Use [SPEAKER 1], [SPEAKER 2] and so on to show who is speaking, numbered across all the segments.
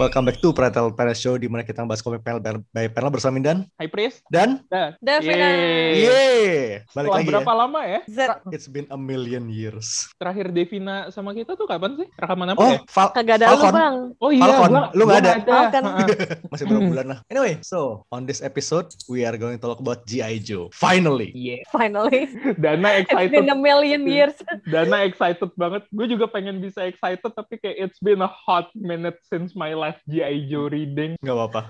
[SPEAKER 1] Welcome back to Pretel Panel Show di mana kita membahas komik panel by panel bersama Mindan
[SPEAKER 2] Hai Pris.
[SPEAKER 1] dan
[SPEAKER 2] Dah.
[SPEAKER 3] Davina.
[SPEAKER 2] Yeay.
[SPEAKER 1] Yeay, balik
[SPEAKER 2] Setelah
[SPEAKER 1] lagi
[SPEAKER 2] Eh. berapa
[SPEAKER 1] ya.
[SPEAKER 2] lama ya?
[SPEAKER 3] Z
[SPEAKER 1] It's been a million years.
[SPEAKER 2] Terakhir Devina sama kita tuh kapan sih? Rekaman apa
[SPEAKER 1] Oh,
[SPEAKER 2] ya?
[SPEAKER 1] Val-
[SPEAKER 3] kagak ada lu
[SPEAKER 1] Falcon.
[SPEAKER 3] bang.
[SPEAKER 2] Oh iya,
[SPEAKER 1] Falcon.
[SPEAKER 2] gua-
[SPEAKER 1] Lu nggak
[SPEAKER 2] gua
[SPEAKER 1] ada.
[SPEAKER 2] nggak
[SPEAKER 3] Falcon.
[SPEAKER 2] Heeh.
[SPEAKER 1] masih berapa bulan lah. Anyway, so on this episode we are going to talk about GI Joe. Finally.
[SPEAKER 2] Iya.
[SPEAKER 3] Finally.
[SPEAKER 2] Dana
[SPEAKER 3] It's
[SPEAKER 2] excited.
[SPEAKER 3] been a million years.
[SPEAKER 2] Dana excited banget. Gue juga pengen bisa excited tapi kayak it's been a hot minute since my last G.I. Joe reading.
[SPEAKER 1] Gak apa-apa.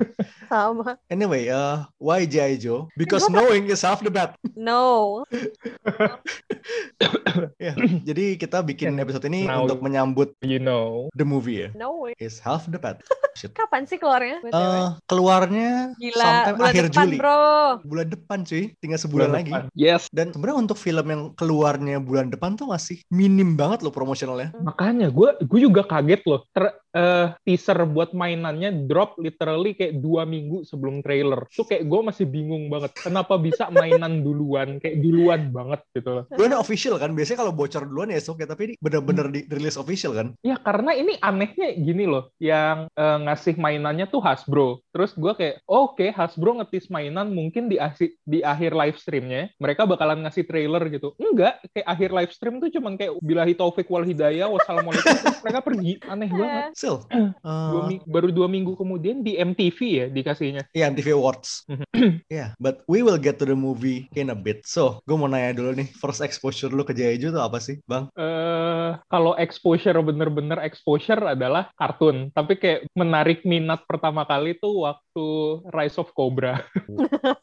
[SPEAKER 3] Sama.
[SPEAKER 1] Anyway, uh, why G.I. Joe? Because knowing is half the battle.
[SPEAKER 3] No.
[SPEAKER 1] Ya, Jadi kita bikin
[SPEAKER 3] Iya.
[SPEAKER 1] episode ini
[SPEAKER 2] Now.
[SPEAKER 1] untuk menyambut
[SPEAKER 2] You know.
[SPEAKER 1] the movie ya.
[SPEAKER 3] No way.
[SPEAKER 1] Is half the battle. Shit.
[SPEAKER 3] Kapan sih keluarnya? BTW?
[SPEAKER 1] Uh, keluarnya
[SPEAKER 3] Gila.
[SPEAKER 1] sometime
[SPEAKER 3] Bulan
[SPEAKER 1] akhir
[SPEAKER 3] depan
[SPEAKER 1] Juli.
[SPEAKER 3] bro.
[SPEAKER 1] Bulan depan cuy, tinggal sebulan lagi.
[SPEAKER 2] depan. Yes.
[SPEAKER 1] Dan sebenarnya untuk film yang keluarnya bulan depan tuh masih minim banget loh promosionalnya.
[SPEAKER 2] Makanya gue gue juga kaget loh. Ter- eh, teaser buat mainannya drop literally kayak dua minggu sebelum trailer. Tuh kayak gue masih bingung banget. Kenapa bisa mainan duluan? Kayak duluan banget gitu loh.
[SPEAKER 1] Bulannya official kan, biasanya kalau bocor duluan ya so, oke, tapi ini bener-bener dirilis official kan.
[SPEAKER 2] Ya karena ini anehnya gini loh, yang eh, ngasih mainannya tuh Hasbro. Terus gue kayak, oh, oke Hasbro ngetis mainan mungkin di, asi- di akhir live streamnya, mereka bakalan ngasih trailer gitu. Enggak, kayak akhir live stream tuh cuman kayak bilahi taufik wal hidayah, wassalamualaikum, terus mereka pergi. Aneh banget.
[SPEAKER 3] Eh,
[SPEAKER 1] Sil, uh,
[SPEAKER 2] Dua mi- baru dua minggu kemudian di MTV ya dikasihnya.
[SPEAKER 1] Iya, MTV Awards.
[SPEAKER 2] Mm-hmm.
[SPEAKER 1] yeah, but we will get to the movie in a bit. So, gue mau nanya dulu nih, first exposure lu ke Jaiju tuh apa sih, Bang?
[SPEAKER 2] eh kalau exposure bener-bener exposure adalah kartun. Tapi kayak menarik minat pertama kali tuh waktu Rise of Cobra.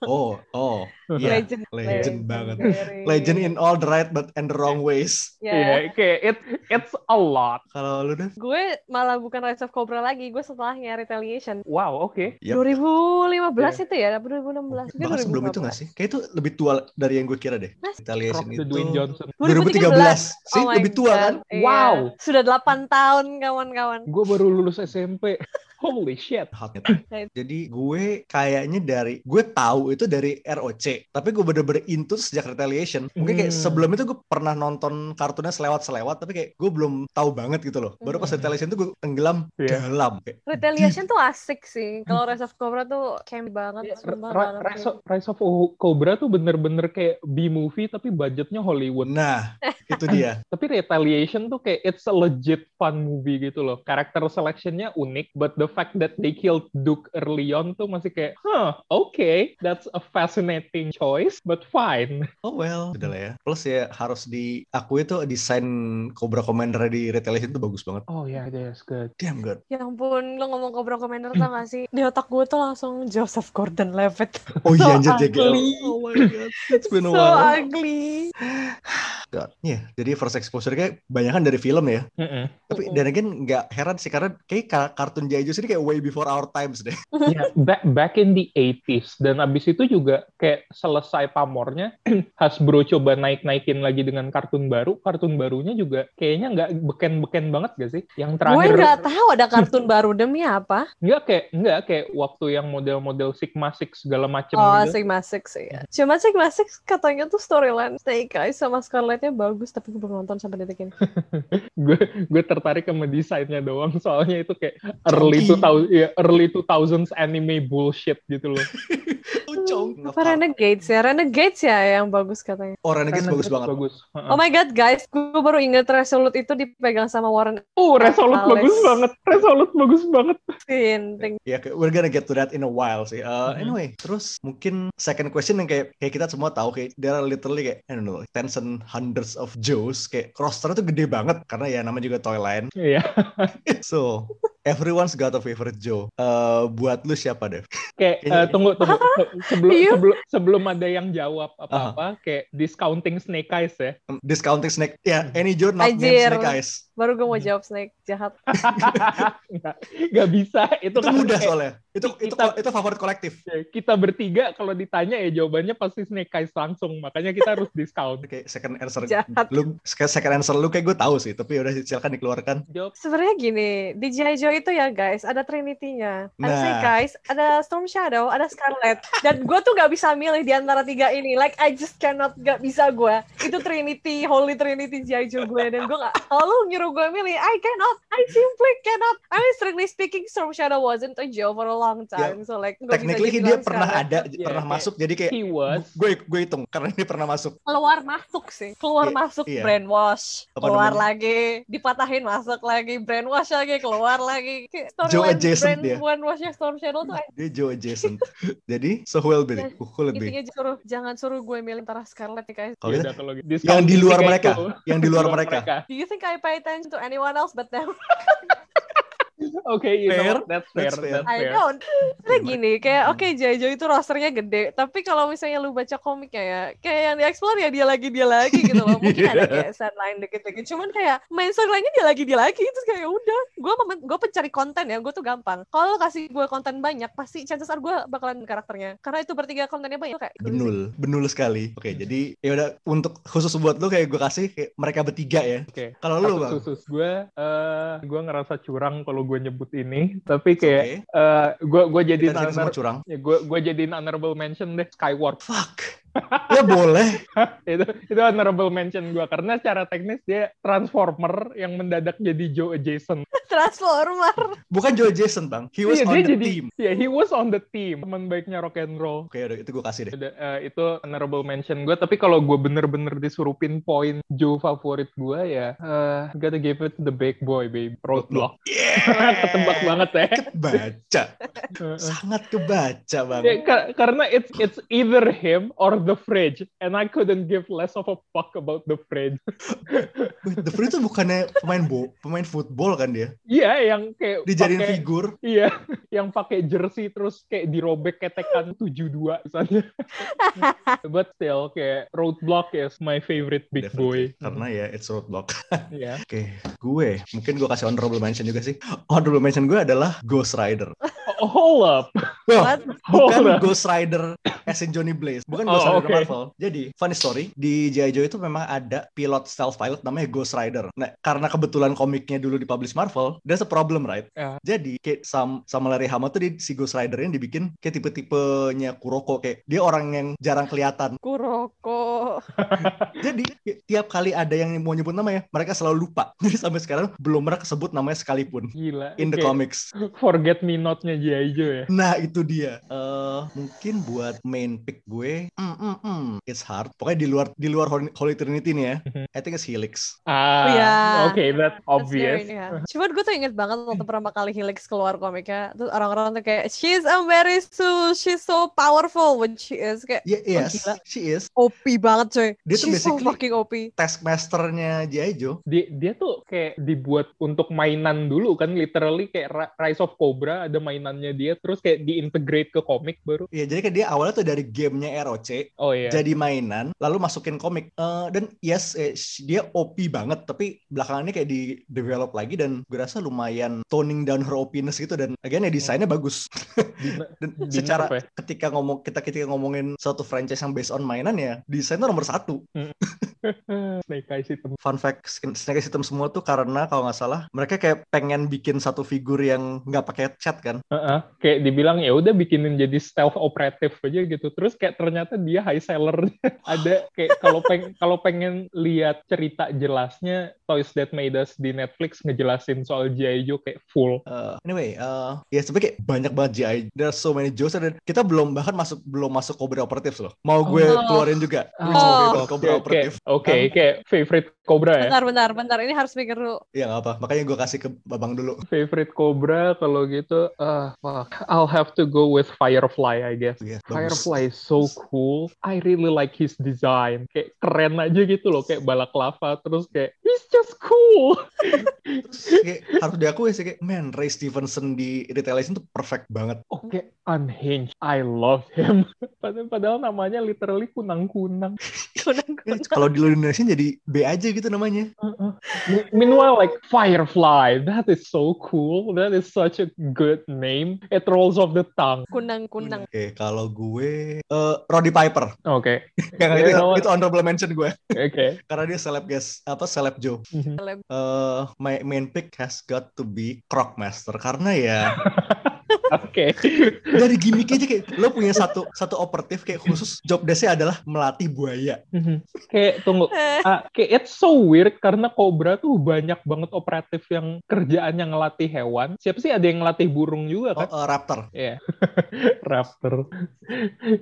[SPEAKER 1] Oh, oh, iya.
[SPEAKER 3] Legend.
[SPEAKER 1] Legend banget. Legend ya. in all the right but and the wrong ways.
[SPEAKER 3] Ya.
[SPEAKER 2] Iya, kayak it, it's a lot.
[SPEAKER 1] Kalau lu deh,
[SPEAKER 3] Gue malah bukan Rise of Cobra lagi. Gue setelahnya Retaliation.
[SPEAKER 2] Wow, oke.
[SPEAKER 1] Yep.
[SPEAKER 3] 2015 itu ya? Apa 2016? Mungkin
[SPEAKER 1] Iya. bahkan sebelum itu gak sih? Kayak itu lebih tua dari yang gue kira deh.
[SPEAKER 3] Mas,
[SPEAKER 1] Retaliation
[SPEAKER 2] Rock
[SPEAKER 1] itu...
[SPEAKER 2] to Dwayne Johnson.
[SPEAKER 3] 2013.
[SPEAKER 1] 2013. Sih,
[SPEAKER 3] Oh my
[SPEAKER 1] lebih tua
[SPEAKER 3] God.
[SPEAKER 1] kan?
[SPEAKER 3] Iya.
[SPEAKER 2] Wow.
[SPEAKER 3] Sudah 8 tahun kawan-kawan.
[SPEAKER 2] Gue baru lulus SMP. Holy shit.
[SPEAKER 1] Hot. Jadi gue kayaknya dari gue tahu itu dari ROC, tapi gue bener-bener into sejak Retaliation. Mungkin kayak
[SPEAKER 2] Hmm.
[SPEAKER 1] sebelum itu gue pernah nonton kartunnya selewat-selewat, tapi kayak gue belum tahu banget gitu loh. Baru pas
[SPEAKER 3] Hmm.
[SPEAKER 1] Retaliation tuh gue tenggelam
[SPEAKER 2] Iya.
[SPEAKER 1] dalam. Kayak,
[SPEAKER 3] Retaliation tuh asik sih. Kalau Rise of Cobra tuh camp banget. serem
[SPEAKER 2] Hmm.
[SPEAKER 3] banget
[SPEAKER 2] Iya, Ra-
[SPEAKER 3] banget.
[SPEAKER 2] Rise of, Rise of Cobra tuh bener-bener kayak B-movie tapi budgetnya Hollywood.
[SPEAKER 1] Nah, itu dia.
[SPEAKER 2] Tapi Retaliation tuh kayak it's a legit fun movie gitu loh. Karakter selection-nya unik, but the fact that they killed Duke early on tuh masih kayak, huh, okay, that's a fascinating choice, but fine.
[SPEAKER 1] Oh well, sudah lah ya. Plus ya harus diakui tuh desain Cobra Commander di Retaliation tuh bagus banget.
[SPEAKER 2] Oh yeah, that's good.
[SPEAKER 1] Damn good.
[SPEAKER 3] Ya ampun, lo ngomong Cobra Commander tau gak sih? Di otak gue tuh langsung Joseph Gordon-Levitt.
[SPEAKER 1] Oh
[SPEAKER 3] So
[SPEAKER 1] iya anjir JGL.
[SPEAKER 3] ugly.
[SPEAKER 1] Oh my god, it's been a
[SPEAKER 3] so
[SPEAKER 1] while.
[SPEAKER 3] ugly.
[SPEAKER 1] God. Iya, jadi first exposure kayak banyakan dari film ya.
[SPEAKER 2] Mm-mm.
[SPEAKER 1] Tapi
[SPEAKER 3] Mm-mm.
[SPEAKER 1] dan again nggak heran sih karena kayak ka- kartun Jaijo ini kayak way before our times deh.
[SPEAKER 2] Ya, back, back in the 80s. Dan abis itu juga kayak selesai pamornya, Hasbro coba naik-naikin lagi dengan kartun baru. Kartun barunya juga kayaknya nggak beken-beken banget gak sih? Yang
[SPEAKER 3] Gue
[SPEAKER 2] terakhir,
[SPEAKER 3] gak tahu ada kartun baru demi apa.
[SPEAKER 2] nggak kayak, nggak kayak waktu yang model-model Sigma Six segala macem
[SPEAKER 3] oh,
[SPEAKER 2] gitu.
[SPEAKER 3] Sigma Six ya. Cuma Sigma Six katanya tuh storyline Snake Eyes sama Scarlet-nya bagus, tapi gue belum nonton sampai detik ini.
[SPEAKER 2] Gue gue tertarik sama desainnya doang, soalnya itu kayak early
[SPEAKER 1] Chonky.
[SPEAKER 2] 2000, ya, early 2000s anime bullshit gitu loh.
[SPEAKER 1] Ucong.
[SPEAKER 3] Apa Renegades ya? Renegades ya yang bagus katanya.
[SPEAKER 1] Oh Renegades
[SPEAKER 2] Karena
[SPEAKER 1] bagus banget.
[SPEAKER 2] Bagus. Heeh.
[SPEAKER 3] Oh my God guys, gue baru inget Resolute itu dipegang sama Warren
[SPEAKER 2] Oh, Resolute
[SPEAKER 3] Alex.
[SPEAKER 2] bagus banget. Resolute bagus banget.
[SPEAKER 3] Finting.
[SPEAKER 1] Ya, kayak we're gonna get to that in a while sih. Uh,
[SPEAKER 2] Mhm.
[SPEAKER 1] Anyway, terus mungkin second question yang kayak kayak kita semua tahu kayak there are literally kayak I don't know like tens and hundreds of Joes kayak roster tuh gede banget karena ya namanya juga toy line.
[SPEAKER 2] Iya.
[SPEAKER 1] so everyone's got a favorite Joe. Uh, buat lu siapa deh?
[SPEAKER 2] kayak
[SPEAKER 1] Kayaknya-
[SPEAKER 2] eh, tunggu tunggu Se- sebelum
[SPEAKER 3] Iya.
[SPEAKER 2] sebelum sebelum ada yang jawab apa-apa kayak discounting snake eyes ya.
[SPEAKER 1] Um, Discounting Snake.
[SPEAKER 2] Hmm.
[SPEAKER 1] Ya, any joke not named
[SPEAKER 3] Anjir.
[SPEAKER 1] Snake Eyes.
[SPEAKER 3] Baru gue
[SPEAKER 1] Iya.
[SPEAKER 3] mau jawab Snake jahat.
[SPEAKER 2] nggak, nggak bisa itu,
[SPEAKER 1] Itu
[SPEAKER 2] kan
[SPEAKER 1] mudah
[SPEAKER 2] kayak
[SPEAKER 1] soalnya. Itu itu
[SPEAKER 2] kita-
[SPEAKER 1] itu favorit kolektif.
[SPEAKER 2] kita bertiga kalau ditanya ya jawabannya pasti snake eyes langsung makanya kita harus discount
[SPEAKER 1] Kayak second answer
[SPEAKER 3] Jahat.
[SPEAKER 1] lu second answer lu kayak gue tahu sih, tapi udah silakan dikeluarkan.
[SPEAKER 2] jawab
[SPEAKER 3] Sebenarnya gini, di G.I. Joe itu ya guys, ada Trinity-nya. Ada
[SPEAKER 1] Nah.
[SPEAKER 3] Snake Eyes, ada Storm Shadow, ada Scarlet. Dan gue tuh gak bisa milih di antara tiga ini. Like, I just cannot, gak bisa gue. Itu Trinity, Holy Trinity G.I. Joe gue. Dan gue gak, lalu nyuruh gue milih, I cannot, I simply cannot. I mean, strictly speaking, Storm Shadow wasn't a Joe for a long time. So like, gue
[SPEAKER 1] Ya, Technically
[SPEAKER 3] bisa
[SPEAKER 1] dia
[SPEAKER 3] dibilang
[SPEAKER 1] pernah
[SPEAKER 3] Scarlet
[SPEAKER 1] ada,
[SPEAKER 2] Iya,
[SPEAKER 1] pernah
[SPEAKER 2] kayak-
[SPEAKER 1] masuk jadi kayak
[SPEAKER 2] he was
[SPEAKER 1] gue gue hitung karena dia pernah masuk.
[SPEAKER 3] keluar masuk sih keluar
[SPEAKER 1] Iya,
[SPEAKER 3] masuk
[SPEAKER 1] iya.
[SPEAKER 3] brainwash
[SPEAKER 1] Apa
[SPEAKER 3] keluar
[SPEAKER 1] namanya?
[SPEAKER 3] lagi dipatahin masuk lagi brainwash lagi keluar lagi Kayak
[SPEAKER 1] Joe
[SPEAKER 3] storyline
[SPEAKER 1] adjacent
[SPEAKER 3] brain-
[SPEAKER 1] dia.
[SPEAKER 3] brainwashnya Storm Shadow tuh eh,
[SPEAKER 1] Dia Joe adjacent. jadi so who will be? Who will it be?
[SPEAKER 3] intinya suruh jangan suruh gue milih antara Scarlet nih guys
[SPEAKER 1] Kalau kita
[SPEAKER 2] Yaudah, kalau gitu.
[SPEAKER 1] ya? yang
[SPEAKER 2] Discounting
[SPEAKER 1] di luar
[SPEAKER 2] snake eyes
[SPEAKER 1] mereka,
[SPEAKER 2] tuh.
[SPEAKER 1] yang di luar mereka.
[SPEAKER 3] do you think I pay attention to anyone else but them
[SPEAKER 2] Oke, you know
[SPEAKER 1] Fair.
[SPEAKER 2] what? that's fair,
[SPEAKER 1] That's fair.
[SPEAKER 2] that's
[SPEAKER 3] I
[SPEAKER 2] fair.
[SPEAKER 3] don't Karena
[SPEAKER 1] Fair.
[SPEAKER 3] gini kayak
[SPEAKER 1] Hmm.
[SPEAKER 3] oke Jojo itu rosternya gede tapi kalau misalnya lu baca komiknya ya kayak yang dieksplor ya dia lagi dia lagi gitu loh mungkin ada kayak sideline dikit-dikit cuman kayak main storyline-nya dia lagi dia lagi terus kayak udah gue gue pencari konten ya gue tuh gampang kalau lu kasih gue konten banyak pasti chances are gue bakalan karakternya karena itu bertiga kontennya banyak kayak
[SPEAKER 1] Benul, benul sekali. Oke,
[SPEAKER 2] Hmm.
[SPEAKER 1] jadi ya udah untuk khusus buat lu kayak gue kasih kayak mereka bertiga ya.
[SPEAKER 2] Oke.
[SPEAKER 1] Kalau lu bang,
[SPEAKER 2] Kasus khusus gue, eh gue ngerasa curang kalau gue nyebut ini, tapi kayak
[SPEAKER 1] oke.
[SPEAKER 2] eh gue gue jadiin
[SPEAKER 1] Kita sini
[SPEAKER 2] honor,
[SPEAKER 1] semua curang.
[SPEAKER 2] gue gue jadiin honorable mention deh Skyward.
[SPEAKER 1] Fuck. Ya boleh.
[SPEAKER 2] itu itu honorable mention gue karena secara teknis dia transformer yang mendadak jadi Joe adjacent.
[SPEAKER 3] transformer
[SPEAKER 1] Bukan Joe Jason bang. He was
[SPEAKER 2] Iya,
[SPEAKER 1] on
[SPEAKER 2] dia
[SPEAKER 1] the
[SPEAKER 2] jadi-
[SPEAKER 1] team.
[SPEAKER 2] Ya, he was on the team, teman baiknya rock and roll.
[SPEAKER 1] Oke, udah itu gue kasih deh.
[SPEAKER 2] Udah, eh, itu honorable mention gue tapi kalau gue bener-bener disuruh pinpoint Joe favorit gue ya eh, gotta give it to the big boy baby roadblock
[SPEAKER 1] Yeah.
[SPEAKER 2] ketebak banget ya
[SPEAKER 1] Kebaca. Sangat kebaca bang.
[SPEAKER 2] Ya, ka- karena it's it's either him or the fridge and I couldn't give less of a fuck about the fridge
[SPEAKER 1] Wait, The Free itu bukannya pemain bo, pemain football kan dia?
[SPEAKER 2] iya yang kayak
[SPEAKER 1] Dijadiin
[SPEAKER 2] pakai-
[SPEAKER 1] figur.
[SPEAKER 2] iya yang pakai jersey terus kayak dirobek ketekan 72 misalnya but still kayak roadblock is my favorite big boy
[SPEAKER 1] Definitely. Karena ya it's roadblock.
[SPEAKER 2] Iya.
[SPEAKER 1] Oke, gue mungkin gue kasih honorable mention juga sih. Honorable mention gue adalah Ghost Rider.
[SPEAKER 2] Oh, hold up
[SPEAKER 1] Wah,
[SPEAKER 3] What?
[SPEAKER 2] hold
[SPEAKER 1] bukan
[SPEAKER 2] up
[SPEAKER 1] Ghost Rider as in Johnny Blaze, bukan
[SPEAKER 2] Oh,
[SPEAKER 1] Ghost Rider
[SPEAKER 2] oke.
[SPEAKER 1] Marvel. Jadi funny story di G.I. Joe itu memang ada pilot self pilot namanya Ghost Rider. Nah, karena kebetulan komiknya dulu dipublish Marvel, there's a problem right.
[SPEAKER 2] Ya.
[SPEAKER 1] Jadi kayak sam sama Larry Hama tuh di, si Ghost Rider ini dibikin kayak tipe-tipenya Kuroko kayak dia orang yang jarang kelihatan.
[SPEAKER 3] kuroko
[SPEAKER 1] Jadi kayak tiap kali ada yang mau nyebut namanya, mereka selalu lupa. Jadi sampai sekarang belum pernah kesebut namanya sekalipun
[SPEAKER 2] Gila.
[SPEAKER 1] in the
[SPEAKER 2] Kayak
[SPEAKER 1] comics.
[SPEAKER 2] Forget me notnya G.I. Joe ya.
[SPEAKER 1] Nah itu dia. eh mungkin buat main pick gue, mm, mm, mm, it's hard. Pokoknya di luar di luar Hol- Holy Trinity nih ya.
[SPEAKER 2] Mhm.
[SPEAKER 1] I think it's Helix.
[SPEAKER 2] Ah,
[SPEAKER 3] Iya.
[SPEAKER 2] oke, that's
[SPEAKER 3] That's very
[SPEAKER 2] obvious.
[SPEAKER 3] new, ya. Cuman gue tuh inget banget waktu pertama kali Helix keluar komiknya, terus orang-orang tuh kayak she's a very so she's so powerful when she is kayak
[SPEAKER 1] Yeah, yes,
[SPEAKER 3] gila.
[SPEAKER 1] she is
[SPEAKER 3] OP banget coy.
[SPEAKER 1] Dia tuh
[SPEAKER 3] she's so
[SPEAKER 1] basically- Eh.
[SPEAKER 3] fucking OP.
[SPEAKER 1] taskmasternya G.I. Joe.
[SPEAKER 2] Dia, dia tuh kayak dibuat untuk mainan dulu kan, literally kayak Ra- Rise of Cobra ada mainannya dia, terus kayak diintegrate ke komik baru.
[SPEAKER 1] Ya jadi kayak dia awalnya tuh dari gamenya ROC
[SPEAKER 2] Oh iya.
[SPEAKER 1] jadi mainan, lalu masukin komik. Eh, dan yes, eh, sh- dia OP banget, tapi belakangannya kayak di develop lagi dan gue rasa lumayan toning down her opiness gitu dan again ya desainnya bagus.
[SPEAKER 2] Di-
[SPEAKER 1] Dan
[SPEAKER 2] di
[SPEAKER 1] secara
[SPEAKER 2] nerf ya.
[SPEAKER 1] ketika ngomong kita ketika ngomongin suatu franchise yang based on mainan ya desain tuh nomor satu
[SPEAKER 2] Snake Eyes hitam.
[SPEAKER 1] fun fact skin- Snake Eyes hitam semua tuh karena kalau nggak salah mereka kayak pengen bikin satu figur yang nggak pakai cat kan
[SPEAKER 2] Heeh. Kayak dibilang ya udah bikinin jadi stealth operative aja gitu. Terus kayak ternyata dia high seller. ada kayak kalau peng kalau pengen lihat cerita jelasnya Toys That Made Us di Netflix ngejelasin soal G.I. Joe kayak full.
[SPEAKER 1] Uh, anyway uh, ya sebenarnya kayak banyak banget GI there are so many jokes dan kita belum bahkan masuk belum masuk Cobra Operatives loh mau gue
[SPEAKER 3] Oh.
[SPEAKER 1] keluarin juga
[SPEAKER 2] Oh.
[SPEAKER 1] Which is favorite Cobra
[SPEAKER 2] Oke,
[SPEAKER 1] Operative
[SPEAKER 2] Oke, kayak favorite Cobra ya.
[SPEAKER 3] Bentar, bentar, bentar. Ini harus mikir dulu.
[SPEAKER 1] ya nggak apa makanya gue kasih ke Babang dulu
[SPEAKER 2] Favorite Cobra kalau gitu, ah fuck, I'll have to go with Firefly I guess.
[SPEAKER 1] Iya, bagus.
[SPEAKER 2] Firefly is so cool. I really like his design. Kayak keren aja gitu loh, kayak balaklava terus kayak he's just cool.
[SPEAKER 1] Terus kayak harus diakui sih kayak man Ray Stevenson di Retaliation tuh perfect banget
[SPEAKER 2] Oke, Oh, unhinged. I love him. Padahal, padahal namanya literally kunang-kunang.
[SPEAKER 3] Kunang-kunang.
[SPEAKER 1] Kalau di Indonesia jadi B aja gitu namanya.
[SPEAKER 2] Uh-uh. Me- Meanwhile, like Firefly, that is so cool. That is such a good name. It rolls off the tongue.
[SPEAKER 3] Kunang-kunang.
[SPEAKER 1] Oke, kalau gue eh Roddy Piper.
[SPEAKER 2] Oke,
[SPEAKER 1] Yang
[SPEAKER 2] You
[SPEAKER 1] itu,
[SPEAKER 2] know what?
[SPEAKER 1] itu honorable mention gue
[SPEAKER 2] oke.
[SPEAKER 1] karena dia seleb guys, apa seleb Joe.
[SPEAKER 2] Mhm.
[SPEAKER 3] Seleb.
[SPEAKER 1] Eh my main pick has got to be Crocmaster karena ya
[SPEAKER 2] Oke.
[SPEAKER 1] dari gimmick aja kayak lo punya satu satu operatif kayak khusus job desk-nya adalah melatih buaya.
[SPEAKER 2] Mhm. Kayak tunggu.
[SPEAKER 3] Eh,
[SPEAKER 2] Ah, kayak it's so weird karena Cobra tuh banyak banget operatif yang kerjaannya ngelatih hewan. Siapa sih ada yang ngelatih burung juga
[SPEAKER 1] Oh,
[SPEAKER 2] kan?
[SPEAKER 1] eh, raptor.
[SPEAKER 2] Iya. Raptor.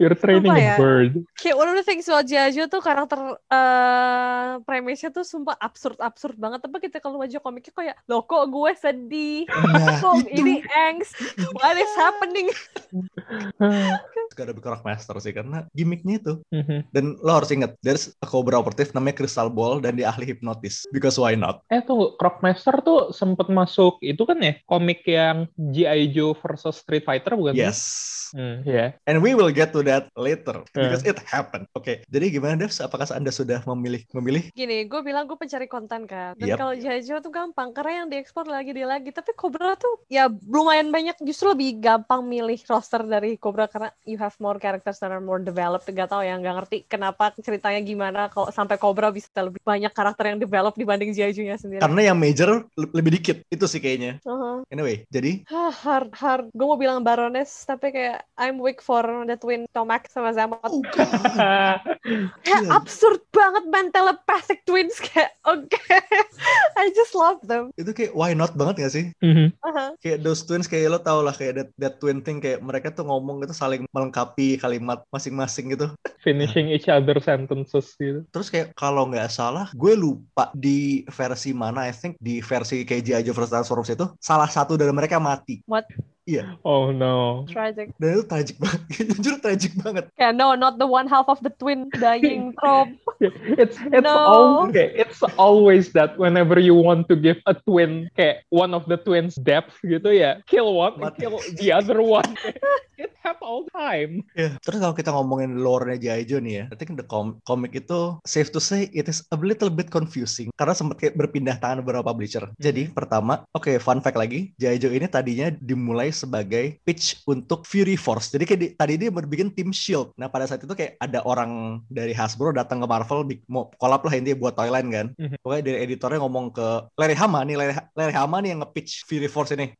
[SPEAKER 2] You're training
[SPEAKER 3] Apa
[SPEAKER 2] a
[SPEAKER 3] ya?
[SPEAKER 2] bird.
[SPEAKER 3] kayak one of the things about G.I. Joe tuh karakter eh premisnya tuh sumpah absurd-absurd banget. Tapi kita kalau baca komiknya kayak, loh kok gue sedih?
[SPEAKER 1] Nah,
[SPEAKER 3] Kok
[SPEAKER 1] itu.
[SPEAKER 3] ini angst? What is happening?
[SPEAKER 1] Gak ada Crocmaster sih karena gimmicknya itu.
[SPEAKER 2] Mhm.
[SPEAKER 1] Dan lo harus inget, there's a cobra operative namanya Crystal Ball dan dia ahli hipnotis. Because why not?
[SPEAKER 2] Eh tuh Crocmaster tuh sempet masuk itu kan ya komik yang G.I. Joe versus Street Fighter bukan? sih?
[SPEAKER 1] Yes.
[SPEAKER 2] Hmm, ya.
[SPEAKER 1] And we will get to that later
[SPEAKER 2] Eh.
[SPEAKER 1] because it happened. Oke, jadi gimana Devs? Apakah Anda sudah memilih memilih?
[SPEAKER 3] Gini, gue bilang gue pencari konten kan. Dan
[SPEAKER 1] Yap.
[SPEAKER 3] kalau G.I. Joe tuh gampang, karena yang diekspor lagi dia lagi. Tapi Cobra tuh ya lumayan banyak, justru lebih gampang milih roster dari Cobra karena you have more characters that are more developed. Gak tau ya, gak ngerti kenapa ceritanya gimana kalau sampai Cobra bisa lebih banyak karakter yang develop dibanding G.I. Joe-nya sendiri.
[SPEAKER 1] Karena yang major le- lebih dikit itu sih kayaknya.
[SPEAKER 3] Uh-huh.
[SPEAKER 1] Anyway, jadi
[SPEAKER 3] Hah, hard, hard. Gue mau bilang Baroness, tapi kayak I'm weak for the twin Tomax sama Zamot.
[SPEAKER 1] oh god,
[SPEAKER 3] Kayak
[SPEAKER 1] Iya.
[SPEAKER 3] absurd banget man, telepathic twins. Kayak, oke. I just love them.
[SPEAKER 1] itu kayak why not banget gak sih?
[SPEAKER 2] Mhm.
[SPEAKER 3] Uh-huh.
[SPEAKER 1] Kayak those twins kayak lo tau lah kayak that, that twin thing kayak mereka tuh ngomong gitu saling melengkapi kalimat masing-masing gitu.
[SPEAKER 2] Finishing each other sentences gitu.
[SPEAKER 1] Terus kayak kalau nggak salah, gue lupa di versi mana, I think di versi kayak G.I. Joe versus Transformers itu, salah satu dari mereka mati.
[SPEAKER 3] What?
[SPEAKER 1] Iya,
[SPEAKER 2] Oh no.
[SPEAKER 3] Tragic.
[SPEAKER 1] dan itu tragic banget. Jujur tragic banget.
[SPEAKER 3] Kayak, no, not the one half of the twin dying trope.
[SPEAKER 2] It's it's
[SPEAKER 3] No.
[SPEAKER 2] al- okay, It's always that whenever you want to give a twin kayak one of the twins depth gitu ya, kill one, and
[SPEAKER 1] Mati.
[SPEAKER 2] kill the other one. It happens all the time.
[SPEAKER 1] Iya. Terus kalau kita ngomongin lore-nya G.I. Joe nih ya, I think the com comic itu safe to say it is a little bit confusing karena sempat kayak berpindah tangan beberapa publisher. Jadi pertama, oke fun fact lagi, G.I. Joe ini tadinya dimulai sebagai pitch untuk Fury Force. Jadi kayak di- tadi dia berbikin tim Shield. Nah pada saat itu kayak ada orang dari Hasbro datang ke Marvel bi- mau collab lah intinya buat Toyland kan.
[SPEAKER 2] Mhm.
[SPEAKER 1] Pokoknya dari editornya ngomong ke Larry Hama nih, Larry, Larry Hama nih yang nge-pitch Fury Force ini.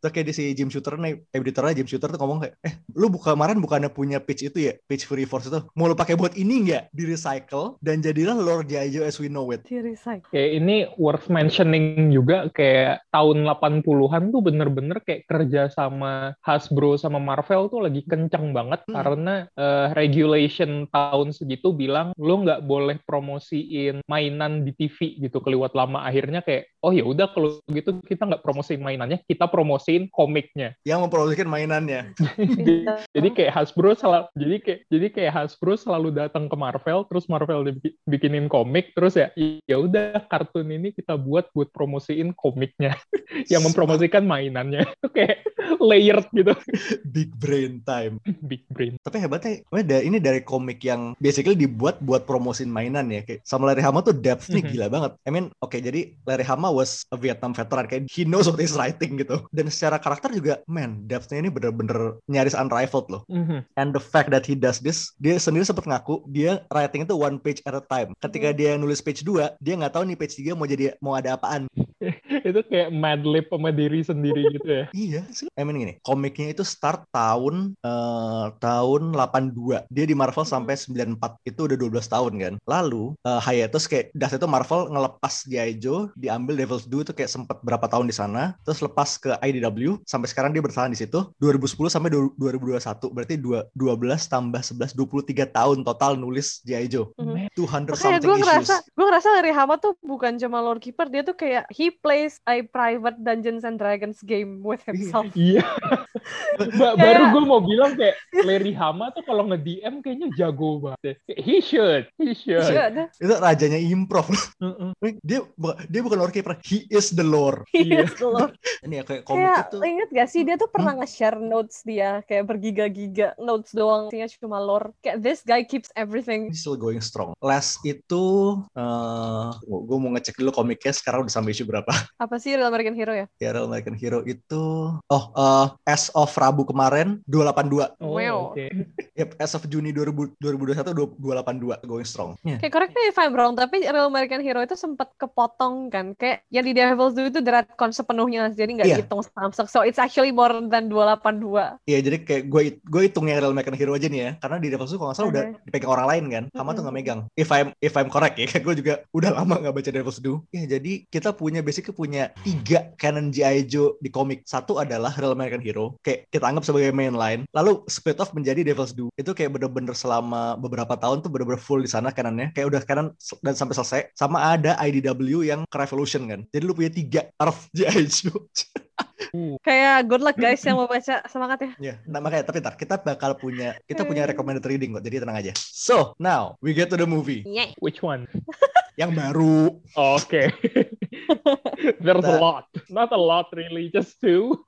[SPEAKER 1] Terus kayak di si Jim Shooter nih, editornya Jim Shooter tuh ngomong kayak, eh lu buka kemarin bukannya punya pitch itu ya, pitch Fury Force itu, mau lu pakai buat ini nggak? Di recycle dan jadilah Lord Jajo as we know it.
[SPEAKER 3] Theory psych.
[SPEAKER 2] Kayak ini worth mentioning juga kayak tahun 80-an tuh bener-bener kayak kerja sama Hasbro sama Marvel tuh lagi kencang banget
[SPEAKER 1] Hmm.
[SPEAKER 2] karena eh, regulation tahun segitu bilang lo nggak boleh promosiin mainan di TV gitu keliwat lama akhirnya kayak oh ya udah kalau gitu kita nggak promosiin mainannya kita promosiin komiknya
[SPEAKER 1] Yang memproduksikan mainannya.
[SPEAKER 2] jadi, jadi kayak Hasbro selalu jadi kayak jadi kayak Hasbro selalu datang ke Marvel terus Marvel dibi- bikinin komik terus ya ya udah kartun ini kita buat buat promosiin komiknya yang mempromosikan mainannya itu kayak layered gitu
[SPEAKER 1] Big brain time.
[SPEAKER 2] big brain
[SPEAKER 1] Tapi hebatnya, emang da- ini dari komik yang basically dibuat buat promosin mainan ya. Kayak sama Larry Hama tuh depth-nya
[SPEAKER 2] Mhm.
[SPEAKER 1] gila banget. I mean, oke jadi Larry Hama was a Vietnam veteran. Kayak he knows what he's writing gitu. Dan secara karakter juga, man, depth-nya ini bener-bener nyaris unrivaled loh. And the fact that he does this, dia sendiri sempat ngaku dia writing itu one page at a time. Ketika dia nulis page 2, dia nggak tahu nih page 3 mau jadi mau ada apaan.
[SPEAKER 2] itu kayak madlib sama diri sendiri gitu ya
[SPEAKER 1] Iya, sih. I mean gini, komiknya itu start tahun eh, tahun 82. Dia di Marvel
[SPEAKER 3] Hmm.
[SPEAKER 1] sampai 94 itu udah 12 tahun kan. Lalu eh, hiatus kayak das itu Marvel ngelepas G.I. Joe, diambil Devil's Due itu kayak sempat berapa tahun di sana, terus lepas ke IDW sampai sekarang dia bertahan di situ 2010 sampai du- 2021. Berarti dua- 12 tambah 11 23 tahun total nulis G.I. Joe.
[SPEAKER 3] Mhm.
[SPEAKER 2] Man,
[SPEAKER 1] 200
[SPEAKER 3] Makanya
[SPEAKER 1] something
[SPEAKER 3] gue ngerasa,
[SPEAKER 1] issues.
[SPEAKER 3] gue ngerasa Larry Hama tuh bukan cuma Lord Keeper, dia tuh kayak he plays a private Dungeons and Dragons game with himself.
[SPEAKER 2] Iya. Ba-
[SPEAKER 3] Kayak-
[SPEAKER 2] baru gue mau bilang kayak Larry Hama tuh kalau nge-DM kayaknya jago banget. deh. He should, he should.
[SPEAKER 3] Iya, ada.
[SPEAKER 1] Itu rajanya improv.
[SPEAKER 2] Mm-mm.
[SPEAKER 1] dia bu- dia bukan lore keeper, he is the lore.
[SPEAKER 2] Iya.
[SPEAKER 3] Yes, Lord.
[SPEAKER 1] Ini ya kayak komik
[SPEAKER 3] Kayak
[SPEAKER 1] itu.
[SPEAKER 3] inget gak sih dia tuh pernah nge-share notes dia kayak bergiga-giga notes doang, isinya cuma lore. Kayak this guy keeps
[SPEAKER 2] Iya.
[SPEAKER 3] everything.
[SPEAKER 1] Ini still going strong. Last itu, eh gue mau ngecek dulu komiknya sekarang udah sampai issue berapa.
[SPEAKER 3] Apa sih Real American Hero ya?
[SPEAKER 1] Ya, Real American Hero itu, oh, eh as of Rabu kemarin, 282.
[SPEAKER 2] Oh,
[SPEAKER 3] Wow.
[SPEAKER 2] oke.
[SPEAKER 1] Yep, as of Juni 2000, 2021, 282 going strong. Ya.
[SPEAKER 3] Kayak correct me if I'm wrong, tapi Real American Hero itu sempat kepotong kan. Kayak yang di Devils dulu itu dratcon sepenuhnya, jadi nggak
[SPEAKER 1] Iya.
[SPEAKER 3] dihitung samsek. So it's actually more than 282.
[SPEAKER 1] Iya jadi kayak gue gue hitung yang Real American Hero aja nih ya karena di Devils tuh kalau nggak salah udah dipegang orang lain kan sama tuh nggak
[SPEAKER 3] Mm-mm.
[SPEAKER 1] megang if I'm if I'm correct ya gue juga udah lama nggak baca Devils Do ya jadi kita punya basically punya tiga canon G.I. Joe di komik satu adalah Real American Hero kayak kita anggap sebagai mainline lalu split off menjadi Devils Do itu kayak bener-bener selama beberapa tahun tuh bener-bener full di sana canonnya kayak udah canon se- dan sampai selesai sama ada IDW yang ke Revolution kan jadi lu punya tiga arc G.I. Joe
[SPEAKER 3] Kayak good luck guys yang mau baca semangat ya.
[SPEAKER 1] Ya, nah makanya tapi ntar kita bakal punya kita punya recommended reading kok. Jadi tenang aja. So, now we get to the movie
[SPEAKER 3] Nyeh.
[SPEAKER 2] Which one?
[SPEAKER 1] yang baru.
[SPEAKER 2] Oke. There's a
[SPEAKER 1] Nah.
[SPEAKER 2] lot. Not a lot really, just two.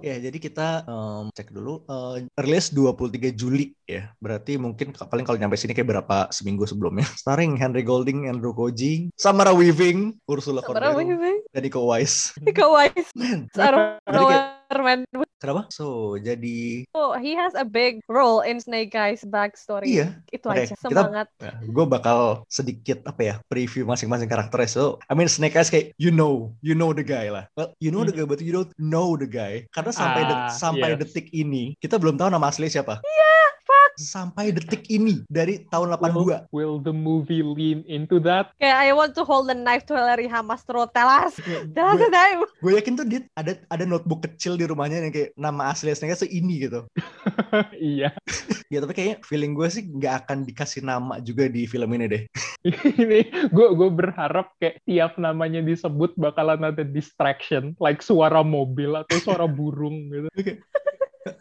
[SPEAKER 1] Ya, jadi kita em, cek dulu eh, rilis 23 Juli ya. Berarti mungkin ke- paling kalau nyampe sini kayak berapa seminggu sebelumnya. Starring Henry Golding, Andrew Koji, Samara Weaving, Ursula
[SPEAKER 3] Sebenarnya
[SPEAKER 1] Corberó,
[SPEAKER 3] gue
[SPEAKER 1] dan Nico Weiss.
[SPEAKER 3] Ika Wise
[SPEAKER 1] Man,
[SPEAKER 3] seorang
[SPEAKER 1] Jadi kayak-
[SPEAKER 3] man.
[SPEAKER 1] kenapa? So, jadi
[SPEAKER 3] Oh, he has a big role in Snake Eyes backstory.
[SPEAKER 1] iya,
[SPEAKER 3] Itu
[SPEAKER 1] Oke,
[SPEAKER 3] aja
[SPEAKER 1] kita-
[SPEAKER 3] semangat.
[SPEAKER 1] gue Ya, bakal sedikit apa ya preview masing-masing karakternya so I mean Snake Eyes kayak you know you know the guy lah well you know the guy but you don't know the guy karena sampai det-
[SPEAKER 2] Ah,
[SPEAKER 1] sampai
[SPEAKER 2] yes.
[SPEAKER 1] detik ini kita belum tahu nama asli siapa iya fuck Oh. sampai detik ini dari tahun 82
[SPEAKER 2] Will the movie lean into that?
[SPEAKER 3] Kayak I want to hold the knife to Larry Hamas throat. Tell us. Tell us
[SPEAKER 1] Iya, gue
[SPEAKER 3] the name.
[SPEAKER 1] gue yakin tuh dia ada ada notebook kecil di rumahnya yang kayak nama asli Snake Eyes tuh ini gitu
[SPEAKER 2] Iya.
[SPEAKER 1] ya tapi kayaknya feeling gue sih nggak akan dikasih nama juga di film ini deh
[SPEAKER 2] Ini gue gue berharap kayak tiap namanya disebut bakalan ada distraction, like suara mobil atau suara burung gitu.
[SPEAKER 1] Oke.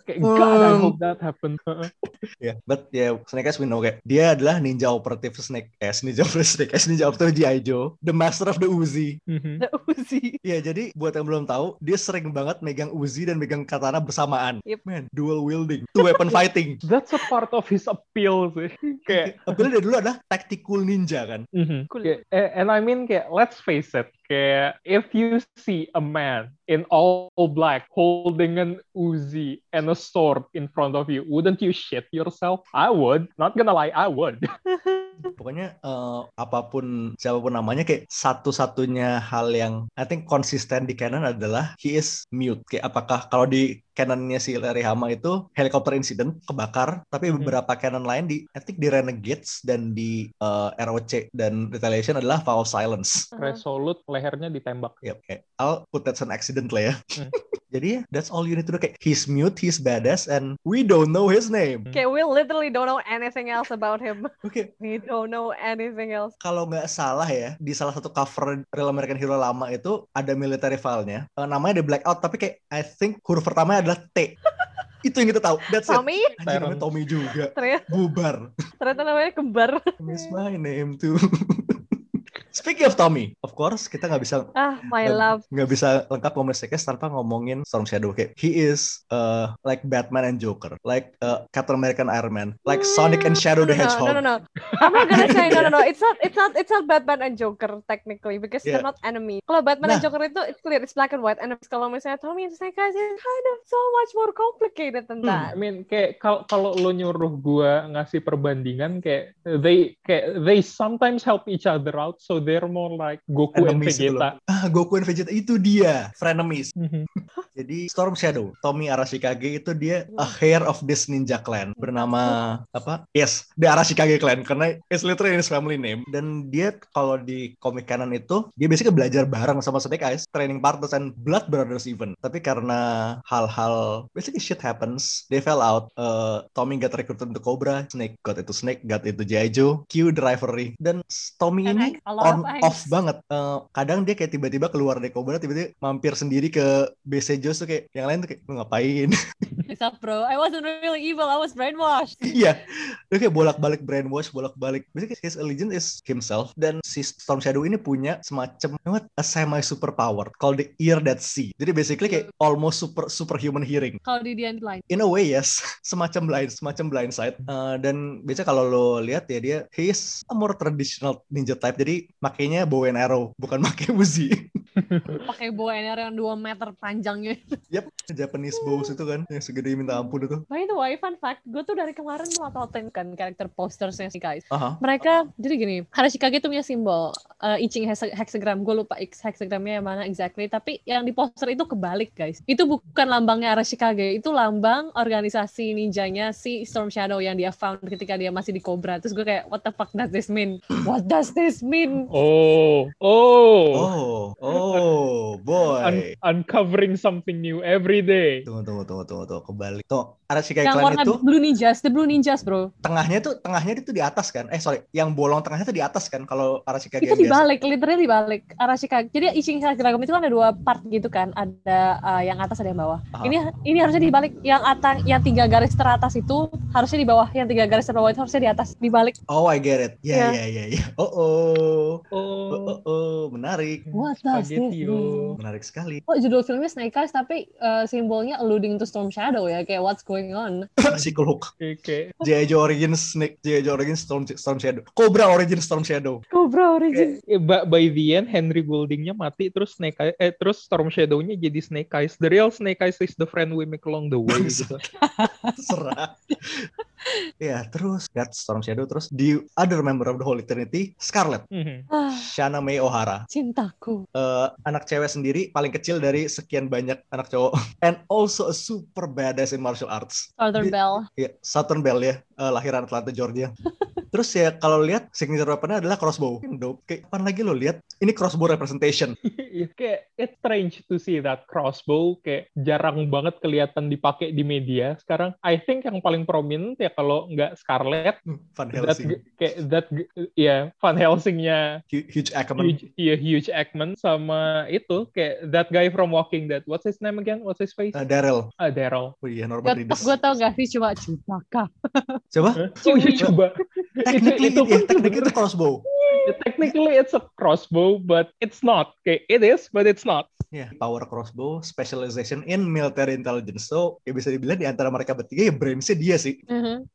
[SPEAKER 2] Kayak God, I
[SPEAKER 1] Um.
[SPEAKER 2] hope that happen.
[SPEAKER 1] Ya, but ya Snake Eyes we know kayak dia adalah ninja operatif Snake Eyes, ninja operatif Snake Eyes, ninja operatif G.I. Joe, the master of the Uzi.
[SPEAKER 2] Mhm.
[SPEAKER 3] The Uzi.
[SPEAKER 1] Ya, jadi buat yang belum tahu, dia sering banget megang Uzi dan megang katana bersamaan.
[SPEAKER 3] Yep.
[SPEAKER 1] Man, dual wielding, two weapon fighting.
[SPEAKER 2] That's a part of his appeal sih. Kayak
[SPEAKER 1] Apalagi dari dulu ada tactical ninja kan.
[SPEAKER 2] Mhm.
[SPEAKER 3] Cool.
[SPEAKER 2] Kayak- eh, and I mean kayak let's face it kayak if you see a man in all black holding an Uzi and a sword in front of you wouldn't you shit yourself I would not gonna lie I would
[SPEAKER 1] Pokoknya eh, apapun siapapun namanya kayak satu-satunya hal yang I think konsisten di canon adalah he is mute. Kayak apakah kalau di canonnya si Larry Hama itu helikopter incident kebakar, tapi
[SPEAKER 2] Mhm.
[SPEAKER 1] beberapa canon lain di I think di Renegades dan di eh, ROC dan Retaliation adalah foul silence.
[SPEAKER 2] resolute lehernya ditembak
[SPEAKER 1] Yep, kayak I'll put that's an accident lah ya.
[SPEAKER 2] Hmm.
[SPEAKER 1] Jadi ya, that's all you need to do. Kayak he's mute, he's badass, and we don't know his name.
[SPEAKER 3] Okay, we literally don't know anything else about him.
[SPEAKER 1] Oke,
[SPEAKER 3] We don't know anything else.
[SPEAKER 1] kalau nggak salah ya di salah satu cover Real American Hero lama itu ada military file-nya Eh, namanya The Blackout tapi kayak I think huruf pertamanya adalah T itu yang kita tahu that's it
[SPEAKER 3] Tommy,
[SPEAKER 1] Anjir, namanya Tommy juga
[SPEAKER 3] ternyata,
[SPEAKER 1] bubar
[SPEAKER 3] ternyata namanya kembar.
[SPEAKER 1] miss my name too Speaking of Tommy, of course kita nggak bisa
[SPEAKER 3] Ah, my love.
[SPEAKER 1] nggak bisa lengkap ngomongin Snake Eyes tanpa ngomongin Storm Shadow. Kayak he is uh, like Batman and Joker, like uh, Captain America and Iron Man, like Sonic and Shadow
[SPEAKER 3] Hmm, no,
[SPEAKER 1] the
[SPEAKER 3] no, no,
[SPEAKER 1] Hedgehog.
[SPEAKER 3] No, no, no. I'm not gonna say no, no, no. It's not, it's not, it's not Batman and Joker technically because they're not enemy. Kalau Batman and
[SPEAKER 1] Nah.
[SPEAKER 3] Joker itu it's clear, it's black and white. And kalau misalnya Tommy and Snake Eyes, it's kind of so much more complicated than
[SPEAKER 1] Hmm.
[SPEAKER 3] that.
[SPEAKER 2] I mean kayak kalau kalau lo nyuruh gua ngasih perbandingan kayak they kayak they sometimes help each other out so they're more like Goku and
[SPEAKER 1] Enemies gitu
[SPEAKER 2] Vegeta.
[SPEAKER 1] Ah, Goku and Vegeta itu dia, frenemies.
[SPEAKER 2] Mhm.
[SPEAKER 1] Jadi Storm Shadow, Tommy Arashikage itu dia a hair of this ninja clan bernama apa? Yes, the Arashikage clan karena it's literally his family name. Dan dia kalau di komik kanan itu dia basically belajar bareng sama Snake Eyes, training partners and blood brothers even. Tapi karena hal-hal basically shit happens, they fell out. Uh, Tommy got recruited to Cobra, Snake got itu Snake, got itu Jaijo, Q the rivalry. Dan Tommy
[SPEAKER 3] And
[SPEAKER 1] ini
[SPEAKER 3] I- a lot
[SPEAKER 1] on
[SPEAKER 3] of angst.
[SPEAKER 1] off banget. Eh, kadang dia kayak tiba-tiba keluar dari Cobra tiba-tiba mampir sendiri ke BC Joes tuh kayak yang lain tuh kayak lu ngapain?
[SPEAKER 3] What's up, bro? I wasn't really evil. I was brainwashed.
[SPEAKER 1] Iya. dia kayak bolak-balik brainwash, bolak-balik. Basically his allegiance is himself dan si Storm Shadow ini punya semacam what a semi superpower called the ear that see. Jadi basically kayak almost super superhuman hearing.
[SPEAKER 3] Kalau di Dian Blind.
[SPEAKER 1] in a way yes semacam blind semacam blind side Uh, dan biasanya kalau lo lihat ya dia he is a more traditional ninja type jadi makainya bow and arrow bukan makai buzi
[SPEAKER 3] Pakai bow and arrow yang 2 meter panjangnya.
[SPEAKER 1] yep Japanese
[SPEAKER 3] Hmm.
[SPEAKER 1] bows itu kan yang segede minta ampun itu
[SPEAKER 3] By the way, fun fact. Gue tuh dari kemarin ngotot kan karakter postersnya sih, guys.
[SPEAKER 1] Aha.
[SPEAKER 3] mereka jadi gini Harashikage itu punya simbol uh, iching hex- hexagram gue lupa ex- hexagramnya yang mana exactly tapi yang di poster itu kebalik guys itu bukan lambangnya Harashikage itu lambang organisasi ninjanya si Storm Shadow yang dia found ketika dia masih di Cobra terus gue kayak what the fuck does this mean what does this mean
[SPEAKER 2] Oh, oh,
[SPEAKER 1] oh oh boy
[SPEAKER 2] Un- uncovering something new every day.
[SPEAKER 1] tunggu tunggu tunggu tunggu tunggu kebalik tuh Arashika
[SPEAKER 3] yang
[SPEAKER 1] Clan
[SPEAKER 3] warna
[SPEAKER 1] itu
[SPEAKER 3] blue ninjas the blue ninjas bro
[SPEAKER 1] tengahnya tuh tengahnya itu di atas kan eh sorry yang bolong tengahnya tuh di atas kan kalau Arashika
[SPEAKER 3] itu
[SPEAKER 1] yang biasa.
[SPEAKER 3] dibalik literally dibalik Arashikage jadi iching hexagram itu kan ada dua part gitu kan ada uh, yang atas ada yang bawah
[SPEAKER 1] Aha.
[SPEAKER 3] ini ini harusnya dibalik yang atas yang tiga garis teratas itu harusnya di bawah yang tiga garis terbawah itu harusnya di atas dibalik
[SPEAKER 1] oh I get it ya
[SPEAKER 3] Iya.
[SPEAKER 4] Ya.
[SPEAKER 1] ya ya ya oh oh oh
[SPEAKER 3] Hmm.
[SPEAKER 1] oh,
[SPEAKER 2] Oh,
[SPEAKER 1] oh. menarik
[SPEAKER 3] What does this
[SPEAKER 2] Spaghetti, oh.
[SPEAKER 1] menarik sekali
[SPEAKER 3] oh judul filmnya Snake Eyes tapi uh, simbolnya alluding to Storm Shadow ya kayak what's going on
[SPEAKER 1] Sikul hook
[SPEAKER 2] Oke, oke.
[SPEAKER 1] J.I. Joe Origins Snake, J.I. Joe Origins Storm, Storm Shadow, Cobra Origins Storm Shadow.
[SPEAKER 3] Cobra Origin
[SPEAKER 2] Eh, ba- by the end Henry Goldingnya mati terus Snake Eye- eh terus Storm Shadow-nya jadi Snake Eyes. The real Snake Eyes is the friend we make along the way gitu.
[SPEAKER 1] Serah. ya, terus God Storm Shadow terus di other member of the Holy Trinity, Scarlet.
[SPEAKER 2] Mhm.
[SPEAKER 3] ah,
[SPEAKER 1] Shana May O'Hara,
[SPEAKER 3] cintaku
[SPEAKER 1] Eh, anak cewek sendiri paling kecil dari sekian banyak anak cowok, and also a super badass in martial arts.
[SPEAKER 3] Southern
[SPEAKER 1] Di-
[SPEAKER 3] Bell
[SPEAKER 1] Ya, Southern Belle ya, eh, lahiran Atlanta, Georgia. Terus ya kalau lihat signature weaponnya adalah crossbow. Dope. Kayak kapan lagi lo lihat? Ini crossbow representation.
[SPEAKER 2] Iya, kayak it's strange to see that crossbow kayak jarang banget kelihatan dipakai di media sekarang. I think yang paling prominent ya kalau nggak Scarlet,
[SPEAKER 1] Hmm, Van
[SPEAKER 2] that
[SPEAKER 1] Helsing,
[SPEAKER 2] kayak that ya Van Helsing-nya
[SPEAKER 1] Hu- huge Ackerman.
[SPEAKER 2] huge, iya, huge Eggman sama itu kayak that guy from Walking Dead. What's his name again? What's his face?
[SPEAKER 1] Eh, Daryl.
[SPEAKER 2] Ah, Daryl.
[SPEAKER 1] Oh iya, Norman
[SPEAKER 3] gue
[SPEAKER 1] Reedus.
[SPEAKER 3] tau gak sih cuma cutaka
[SPEAKER 1] Coba.
[SPEAKER 2] Oh, iya, coba.
[SPEAKER 1] Technically, itu,
[SPEAKER 2] Itu- itu
[SPEAKER 1] ya,
[SPEAKER 2] pun
[SPEAKER 1] technically itu
[SPEAKER 2] sebenarnya-
[SPEAKER 1] crossbow.
[SPEAKER 2] Technically it's a crossbow, but it's not. Kayak it is, but it's not.
[SPEAKER 1] Ya, power crossbow, specialization in military intelligence. So, ya bisa dibilang di antara mereka bertiga ya brainsnya dia sih.
[SPEAKER 3] Mhm.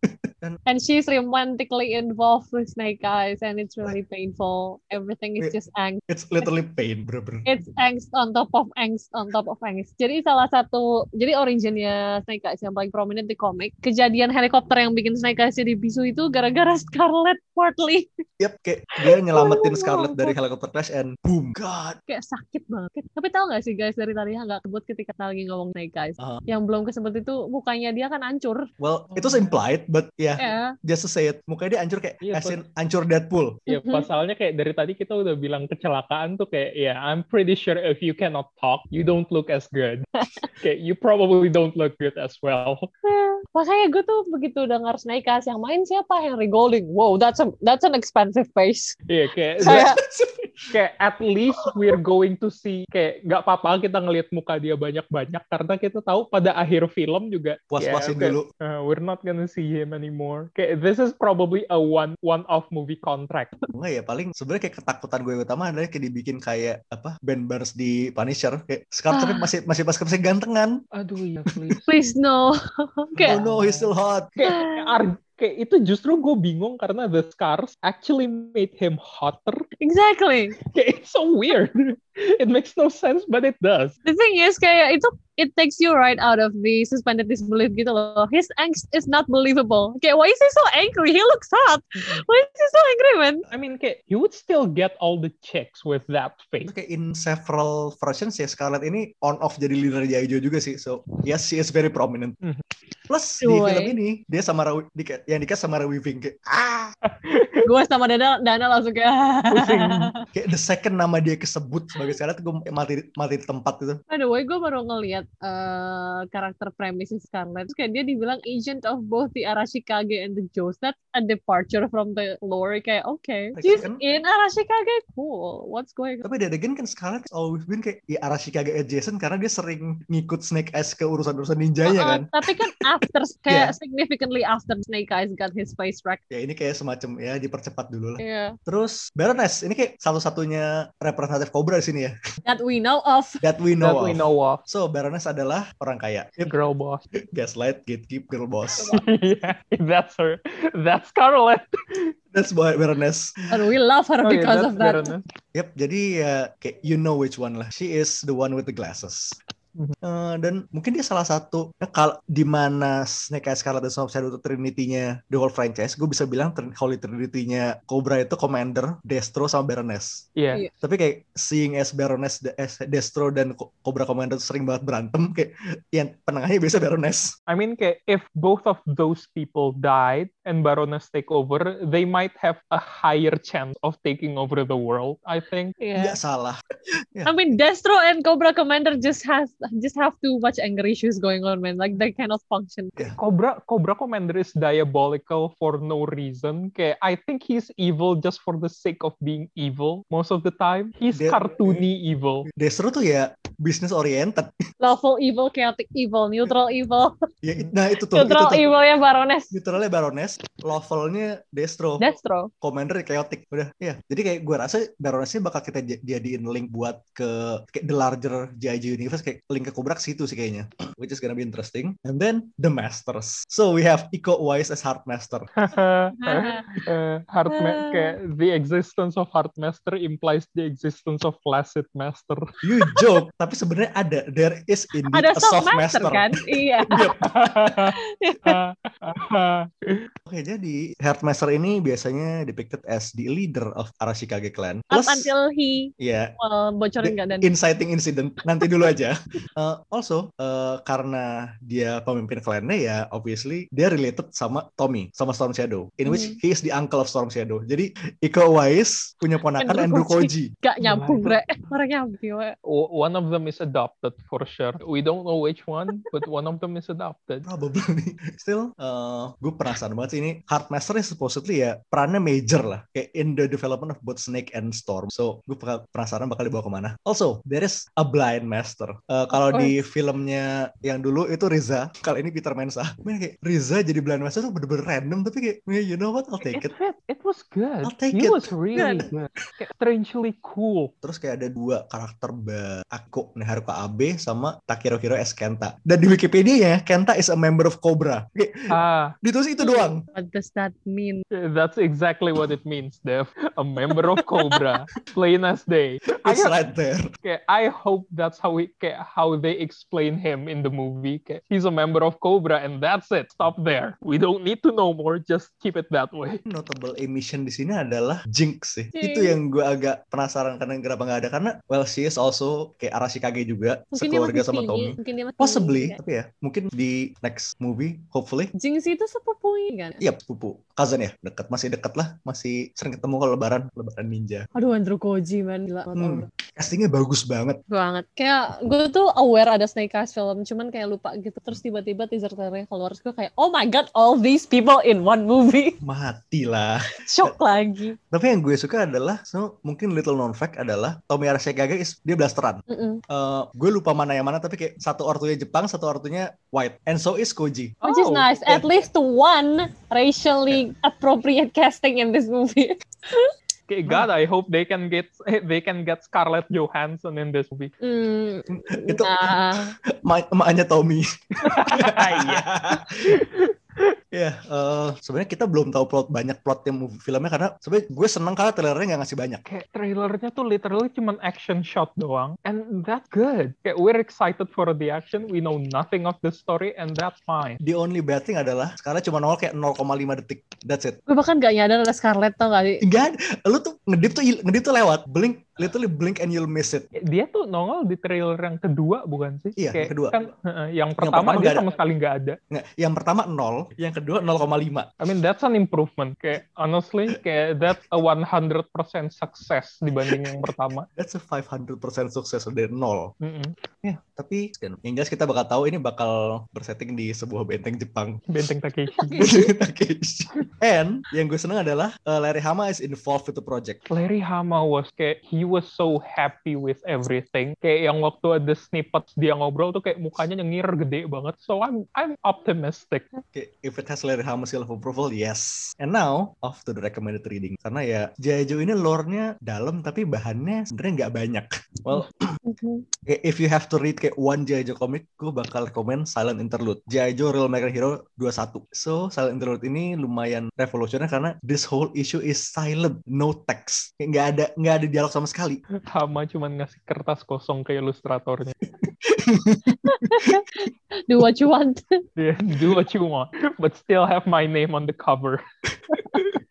[SPEAKER 3] and she's romantically involved with Snake Eyes and it's really painful everything is just angst
[SPEAKER 1] It's literally pain, bener-bener.
[SPEAKER 3] It's angst on top of angst on top of angst. Jadi salah satu, jadi originnya Snake Eyes yang paling prominent di komik. Kejadian helikopter yang bikin Snake Eyes jadi bisu itu gara-gara Scarlet Portly.
[SPEAKER 1] Yep, kayak dia nyelamatin
[SPEAKER 3] Oh,
[SPEAKER 1] Scarlet
[SPEAKER 3] no.
[SPEAKER 1] dari helicopter crash and boom, god.
[SPEAKER 3] Kayak sakit banget. Tapi tahu nggak sih guys dari tadi yang nggak kebut ketika kita lagi ngomong Snake Eyes.
[SPEAKER 1] Uh-huh.
[SPEAKER 3] Yang belum kesebut itu mukanya dia kan hancur.
[SPEAKER 1] Well, itu implied, but yeah,
[SPEAKER 3] Ya.
[SPEAKER 1] just to say it. Mukanya dia hancur kayak,
[SPEAKER 2] Iya,
[SPEAKER 1] as in hancur Deadpool.
[SPEAKER 2] Ya
[SPEAKER 3] Mhm.
[SPEAKER 2] pasalnya kayak dari tadi kita udah bilang kecelakaan tuh kayak ya I'm pretty sure if you cannot talk, you don't look as good. kayak you probably don't look good as well.
[SPEAKER 3] Makanya gue tuh begitu dengar Snake Eyes yang main siapa Henry Golding. Wow, that's a, that's an expensive face.
[SPEAKER 2] Iya kayak
[SPEAKER 3] Kayak-
[SPEAKER 2] kayak at least we're going to see kayak nggak apa-apa kita ngelihat muka dia banyak-banyak karena kita tahu pada akhir film juga
[SPEAKER 1] Puas-puasin
[SPEAKER 2] ya,
[SPEAKER 1] dulu.
[SPEAKER 2] Uh, we're not gonna see him anymore. Kayak this is probably a one one off movie contract.
[SPEAKER 1] Enggak ya, paling sebenarnya kayak ketakutan gue yang utama adalah kayak dibikin kayak apa Ben Barnes di Punisher kayak
[SPEAKER 2] Ah.
[SPEAKER 1] Scarlet tapi masih masih pas masih gantengan.
[SPEAKER 2] Aduh ya please.
[SPEAKER 3] Please no.
[SPEAKER 1] Oh
[SPEAKER 3] Kayak
[SPEAKER 1] no, he's still hot.
[SPEAKER 2] kayak, kayak ar- kayak itu justru gue bingung karena the scars actually made him hotter.
[SPEAKER 3] exactly.
[SPEAKER 2] Kayak it's so weird. It makes no sense, but it does.
[SPEAKER 3] The thing is kayak itu it takes you right out of the suspended disbelief gitu loh. His angst is not believable. Kayak why is he so angry? He looks hot. Why is he so angry man?
[SPEAKER 2] I mean, kayak you would still get all the checks with that face.
[SPEAKER 1] Itu kayak in several versions ya Scarlett ini on off jadi leader Jaijo juga sih. So yes, she is very prominent.
[SPEAKER 2] Mhm.
[SPEAKER 1] Plus di
[SPEAKER 3] Cuy.
[SPEAKER 1] film ini dia sama Ra- di, yang dikasih sama Ra Weaving kayak ah
[SPEAKER 3] Gue sama Dana Dana langsung kayak
[SPEAKER 2] Pusing.
[SPEAKER 1] kayak the second nama dia kesebut sebagai Scarlett gue mati mati di tempat gitu.
[SPEAKER 3] By the way, gue baru ngeliat eh, karakter premisnya Scarlet. Terus kayak dia dibilang agent of both the Arashikage and the Joes. That's a departure from the lore. Kayak, okay.
[SPEAKER 1] Like,
[SPEAKER 3] She's
[SPEAKER 1] kan-
[SPEAKER 3] in Arashikage. Cool. What's going on?
[SPEAKER 1] Tapi ada again kan Scarlett always been kayak ya Arashikage adjacent karena dia sering ngikut Snake Eyes ke urusan-urusan ninjanya kan.
[SPEAKER 3] Uh-uh, tapi kan after kayak significantly after Snake Eyes got his face wrecked.
[SPEAKER 1] Ya ini kayak semacam ya dipercepat dulu lah.
[SPEAKER 3] Yeah.
[SPEAKER 1] Terus Baroness ini kayak satu-satunya representatif Cobra di sini ya.
[SPEAKER 3] That we know of.
[SPEAKER 1] That we know
[SPEAKER 2] that
[SPEAKER 1] of.
[SPEAKER 2] we know of.
[SPEAKER 1] So Baroness adalah orang kaya. Yep,
[SPEAKER 2] Girl boss.
[SPEAKER 1] gaslight, gatekeep, girl boss.
[SPEAKER 2] yeah, that's her. That's Scarlett.
[SPEAKER 1] That's why Baroness.
[SPEAKER 3] And we love her
[SPEAKER 2] Oh, yeah,
[SPEAKER 3] because
[SPEAKER 2] that's
[SPEAKER 3] of that.
[SPEAKER 2] Baroness.
[SPEAKER 1] Yep, jadi ya kayak you know which one lah. She is the one with the glasses.
[SPEAKER 2] Mhm.
[SPEAKER 1] Eh, dan mungkin dia salah satu ya, kal di mana Snake Eyes Scarlet dan Son of Shadow itu Trinity-nya The Whole Franchise, gue bisa bilang Trin- Holy Trinity-nya Cobra itu Commander, Destro sama Baroness.
[SPEAKER 2] Yeah.
[SPEAKER 3] Iya.
[SPEAKER 1] Tapi kayak seeing as Baroness, de- as Destro dan Co- Cobra Commander tuh sering banget berantem kayak yang penengahnya biasa Baroness.
[SPEAKER 2] I mean, kayak, if both of those people died and Baroness take over, they might have a higher chance of taking over the world, I think.
[SPEAKER 3] Yeah.
[SPEAKER 1] Nggak salah.
[SPEAKER 3] I mean, Destro and Cobra Commander just has just have too much anger issues going on, man. Like they cannot function.
[SPEAKER 2] Cobra Cobra Commander is diabolical for no reason. Kayak, I think he's evil just for the sake of being evil most of the time. He's
[SPEAKER 1] Dia-
[SPEAKER 2] cartoony evil.
[SPEAKER 1] Destro tuh ya business oriented.
[SPEAKER 3] lawful evil, chaotic evil, neutral evil,
[SPEAKER 1] Ya, it- nah itu tuh. itu
[SPEAKER 3] neutral
[SPEAKER 1] tuh.
[SPEAKER 3] evilnya Baroness
[SPEAKER 1] Neutralnya Baroness, levelnya Destro,
[SPEAKER 3] Destro.
[SPEAKER 1] Commander Chaotic. Udah, ya. Jadi kayak gue rasa Baronessnya bakal kita ja- jadiin link buat ke kayak the larger JJ universe kayak link ke Cobra ke situ sih kayaknya. Which is gonna be interesting. And then the Masters. So we have Iko Uwais as Heart Master.
[SPEAKER 2] uh, Heartma-
[SPEAKER 3] Ah.
[SPEAKER 2] kayak, the existence of Heartmaster implies the existence of Placid Master.
[SPEAKER 1] You joke, tapi sebenarnya ada. There is indeed
[SPEAKER 3] Ada
[SPEAKER 1] a
[SPEAKER 3] soft master, kan? Iya.
[SPEAKER 2] Uh,
[SPEAKER 1] Oke, jadi Heart Master ini biasanya depicted as the leader of Arashikage clan.
[SPEAKER 3] Up
[SPEAKER 1] Plus,
[SPEAKER 3] until he
[SPEAKER 1] ya,
[SPEAKER 3] well, bocorin nggak dan
[SPEAKER 1] inciting incident nanti dulu aja. Uh, also uh, karena dia pemimpin klannya ya obviously dia related sama Tommy sama Storm Shadow in which
[SPEAKER 3] Mhm.
[SPEAKER 1] he is the uncle of Storm Shadow. Jadi Iko Uwais punya ponakan Andrew
[SPEAKER 3] Andrew
[SPEAKER 1] Koji.
[SPEAKER 3] gak nyambung,
[SPEAKER 2] Gimana
[SPEAKER 3] Bre. Orang nyambung. we.
[SPEAKER 2] O- one of them is adopted for sure. We don't know which one, but one of them is adopted.
[SPEAKER 1] Probably still uh, gue penasaran banget sih ini Heartmaster is supposedly ya perannya major lah kayak in the development of both Snake and Storm. So gue pe- penasaran bakal dibawa kemana. Also there is a blind master. Uh, kalau di filmnya yang dulu itu Riza, kalau ini Peter Mensa. Men kayak Riza jadi blind master tuh bener-bener random tapi kayak "Yeah, you know what I'll take it.
[SPEAKER 2] It, fit- it was good.
[SPEAKER 1] I'll take
[SPEAKER 2] he
[SPEAKER 1] it.
[SPEAKER 2] was really good. Strangely cool.
[SPEAKER 1] Terus kayak ada dua karakter ba- Aku nih Haruka Abe sama Takiro Hiro S Kenta. Dan di Wikipedia ya Kenta is a member of Cobra. Kayak
[SPEAKER 2] Ah,
[SPEAKER 1] ditulis itu doang.
[SPEAKER 3] What does that mean?
[SPEAKER 2] that's exactly what it means, Dev. A member of Cobra, plain as day. I,
[SPEAKER 1] It's right there.
[SPEAKER 2] kayak, I hope that's how we kayak, how they explain him in the movie. Kayak, he's a member of Cobra, and that's it. Stop there. We don't need to know more. Just keep it that way.
[SPEAKER 1] notable emission di sini adalah Jinx sih.
[SPEAKER 3] Jinx.
[SPEAKER 1] Itu yang gue agak penasaran karena kenapa nggak ada karena well she is also kayak Arashikage juga
[SPEAKER 3] Mungkin dia
[SPEAKER 1] sekeluarga
[SPEAKER 3] masih
[SPEAKER 1] sama
[SPEAKER 3] tinggi.
[SPEAKER 1] Tommy.
[SPEAKER 3] Mungkin dia masih
[SPEAKER 1] Possibly,
[SPEAKER 3] tinggi, kan?
[SPEAKER 1] tapi ya mungkin di next movie hopefully.
[SPEAKER 3] Jinx itu sepupunya kan?
[SPEAKER 1] Iya, pupu. Cousin ya, dekat masih dekat lah, masih sering ketemu kalau lebaran, lebaran ninja.
[SPEAKER 3] Aduh, Andrew Koji, man. Gila.
[SPEAKER 1] Hmm. Castingnya bagus banget.
[SPEAKER 3] banget kayak gue tuh aware ada Snake Eyes film cuman kayak lupa gitu terus tiba-tiba teaser trailernya keluar terus gue kayak oh my god all these people in one movie
[SPEAKER 1] Mati lah.
[SPEAKER 3] shock lagi
[SPEAKER 1] Tapi yang gue suka adalah, so, mungkin little known fact adalah Tommy Arashikage is dia blasteran.
[SPEAKER 3] Mm-mm.
[SPEAKER 1] Eh, gue lupa mana yang mana, tapi kayak satu ortunya Jepang, satu ortunya white. And so is Koji.
[SPEAKER 3] Which is
[SPEAKER 2] Oh,
[SPEAKER 3] nice.
[SPEAKER 1] yeah.
[SPEAKER 3] At least one racially appropriate casting in this movie.
[SPEAKER 2] Okay, God, I hope they can get they can get Scarlett Johansson in this movie.
[SPEAKER 3] Hmm,
[SPEAKER 1] Itu-
[SPEAKER 3] nah,
[SPEAKER 1] Ma- emaknya Tommy.
[SPEAKER 2] Iya.
[SPEAKER 1] Iya, eh, sebenarnya kita belum tahu plot banyak plotnya movie filmnya karena sebenarnya gue seneng karena trailernya nggak ngasih banyak.
[SPEAKER 2] kayak trailernya tuh literally cuman action shot doang and that's good kayak we're excited for the action we know nothing of the story and that's fine
[SPEAKER 1] The only bad thing adalah sekarang cuma nol kayak 0,5 detik. That's it.
[SPEAKER 5] Gue bahkan gak nyadar ada Scarlett tau gak sih?
[SPEAKER 1] Enggak, lu tuh ngedip tuh ngedip tuh lewat, blink, literally blink and you'll miss it.
[SPEAKER 2] dia tuh nongol di trailer yang kedua bukan sih
[SPEAKER 1] Iya,
[SPEAKER 2] kayak
[SPEAKER 1] yang kedua.
[SPEAKER 2] kan heeh, yang pertama,
[SPEAKER 1] pertama
[SPEAKER 2] dia
[SPEAKER 1] nggak ada.
[SPEAKER 2] sama sekali nggak ada
[SPEAKER 1] Nggak, yang pertama 0, yang kedua 0,5.
[SPEAKER 2] I mean that's an improvement kayak honestly kayak that's a 100% success dibanding yang pertama
[SPEAKER 1] That's a 500% sukses dari 0.
[SPEAKER 2] Mm-mm.
[SPEAKER 1] Ya, tapi yang jelas kita bakal tahu ini bakal bersetting di sebuah benteng Jepang.
[SPEAKER 2] benteng Takeshi
[SPEAKER 1] Takeshi. And yang gue seneng adalah uh, Larry Hama is involved with the project.
[SPEAKER 2] Larry Hama was kayak he was so happy with everything. Kayak yang waktu ada snippets dia ngobrol tuh kayak mukanya nyengir gede banget. So I'm I'm optimistic.
[SPEAKER 1] Oke, if it has Larry Hama seal of approval, yes. And now, off to the recommended reading. Karena ya, Jaijo ini lore-nya dalam, tapi bahannya sebenarnya nggak banyak. Well, kayak if you have to read kayak one Jaijo comic, gue bakal rekomend Silent Interlude. Jaijo Real American Hero 21. So, Silent Interlude ini lumayan revolusioner karena this whole issue is silent, no text. Kayak nggak ada nggak ada dialog sama sekali.
[SPEAKER 2] Hama cuman ngasih kertas kosong ke ilustratornya.
[SPEAKER 5] Do what you want.
[SPEAKER 2] Dia, Do what you want, but still have my name on the cover.
[SPEAKER 1] Oke,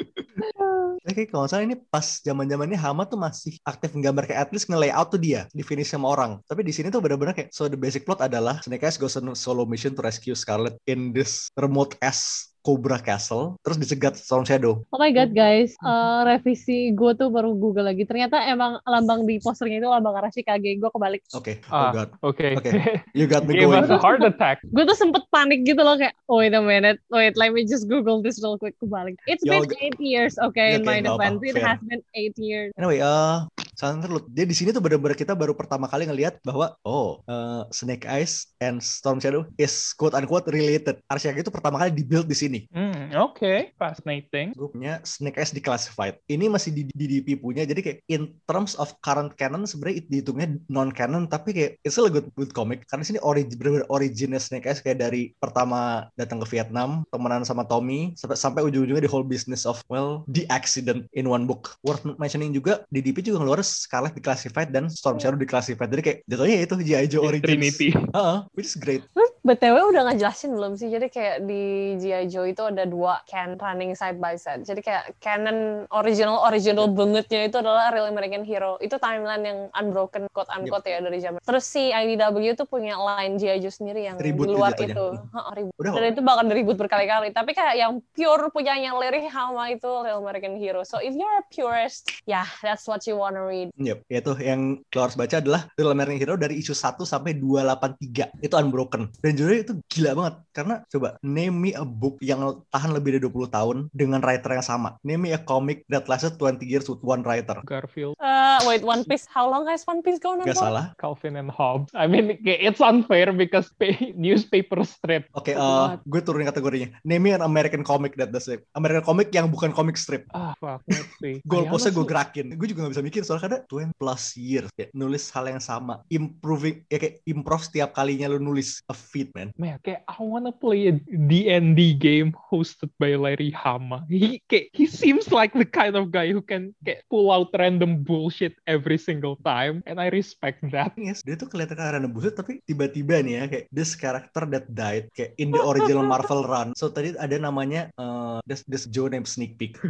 [SPEAKER 1] Eh, kalau nggak salah ini pas zaman zamannya Hama tuh masih aktif menggambar kayak at least nge-layout tuh dia, di finish sama orang. Tapi di sini tuh benar-benar kayak so the basic plot adalah Snake Eyes goes on a solo mission to rescue Scarlet in this remote ass Cobra Castle, terus dicegat Storm Shadow.
[SPEAKER 5] Oh my god guys, Eh, revisi gue tuh baru google lagi. Ternyata emang lambang di posternya itu lambang arah Chicago. Gue kebalik.
[SPEAKER 1] Oke, oh
[SPEAKER 2] Ah. Iya,
[SPEAKER 1] god,
[SPEAKER 2] Oke.
[SPEAKER 1] Oke. you got me
[SPEAKER 2] Gave us
[SPEAKER 1] going.
[SPEAKER 2] a heart attack.
[SPEAKER 5] Gue tuh sempet panik gitu loh kayak, wait a minute, wait, let me just google this real quick. Kebalik. It's
[SPEAKER 1] Yo,
[SPEAKER 5] been eight years, okay,
[SPEAKER 1] ya,
[SPEAKER 5] in my
[SPEAKER 1] kayak nggak apa,
[SPEAKER 5] defense. It
[SPEAKER 1] fair.
[SPEAKER 5] has been eight years.
[SPEAKER 1] Anyway, eh Silent Interlude. Dia di sini tuh benar-benar kita baru pertama kali ngelihat bahwa oh eh, Snake Eyes and Storm Shadow is quote unquote related. Arsiaga itu pertama kali dibuild di sini.
[SPEAKER 2] Hmm, Oke, fascinating.
[SPEAKER 1] gue punya Snake Eyes Declassified. Ini masih di DDP punya, jadi kayak in terms of current canon sebenarnya itu dihitungnya non canon, tapi kayak it's still a good, good comic. Karena sini origin bener originnya Snake Eyes kayak dari pertama datang ke Vietnam, temenan sama Tommy, sampai sampai ujung-ujungnya the whole business of well the accident in one book. Worth mentioning juga DDP juga ngeluarin Scarlet Declassified dan Storm Shadow Declassified. Jadi kayak jatuhnya itu G.I. Joe Origins.
[SPEAKER 2] Trinity.
[SPEAKER 1] Heeh, which is great.
[SPEAKER 3] BTW udah ngejelasin belum sih? Jadi kayak di G.I. Joe itu ada dua can running side by side. Jadi kayak canon original original bangetnya itu adalah Real American Hero. Itu timeline yang unbroken quote unquote ya dari zaman. Terus si IDW itu punya line G.I. Joe sendiri yang
[SPEAKER 1] Ribut
[SPEAKER 3] di luar
[SPEAKER 1] gitu
[SPEAKER 3] itu.
[SPEAKER 1] jatuhnya.
[SPEAKER 3] Heeh, ribut.
[SPEAKER 1] Udah
[SPEAKER 3] Dan itu bakal diribut berkali-kali. Tapi kayak yang pure punyanya Larry Hama itu Real American Hero. So if you're a purist, yeah, that's what you wanna read.
[SPEAKER 1] Yep, yaitu yang lo harus baca adalah Real American Hero dari isu 1 sampai 283. Itu unbroken. Dan jujur itu gila banget. Karena coba, name me a book yang tahan lebih dari 20 tahun dengan writer yang sama. Name me a comic that lasted 20 years with one writer.
[SPEAKER 2] Garfield,
[SPEAKER 3] Uh, wait, One Piece. How long has One Piece gone on?
[SPEAKER 1] Gak salah.
[SPEAKER 2] Calvin and Hobbes. I mean, kayak it's unfair because pa- newspaper strip.
[SPEAKER 1] Oke, eh, gue turunin kategorinya. Name me an American comic that does it. American comic yang bukan comic strip.
[SPEAKER 2] Ah, fuck, let's see.
[SPEAKER 1] Goalpostnya gue
[SPEAKER 2] Ayana sih-
[SPEAKER 1] gerakin. Gue juga gak bisa mikir soalnya kadang 20 plus years. Kayak nulis hal yang sama. Improving, ya kayak improve setiap kalinya lo nulis a feat, man.
[SPEAKER 2] Man, kayak I wanna play a D&D game hosted by Larry Hama. He kayak, he seems like the kind of guy who can kayak pull out random bullshit every single time, and I respect that.
[SPEAKER 1] Yes, dia tuh kelihatan kayak random bullshit tapi tiba-tiba nih ya kayak this character that died kayak in the original Marvel run. So tadi ada namanya eh this, this Joe named Sneak Peek.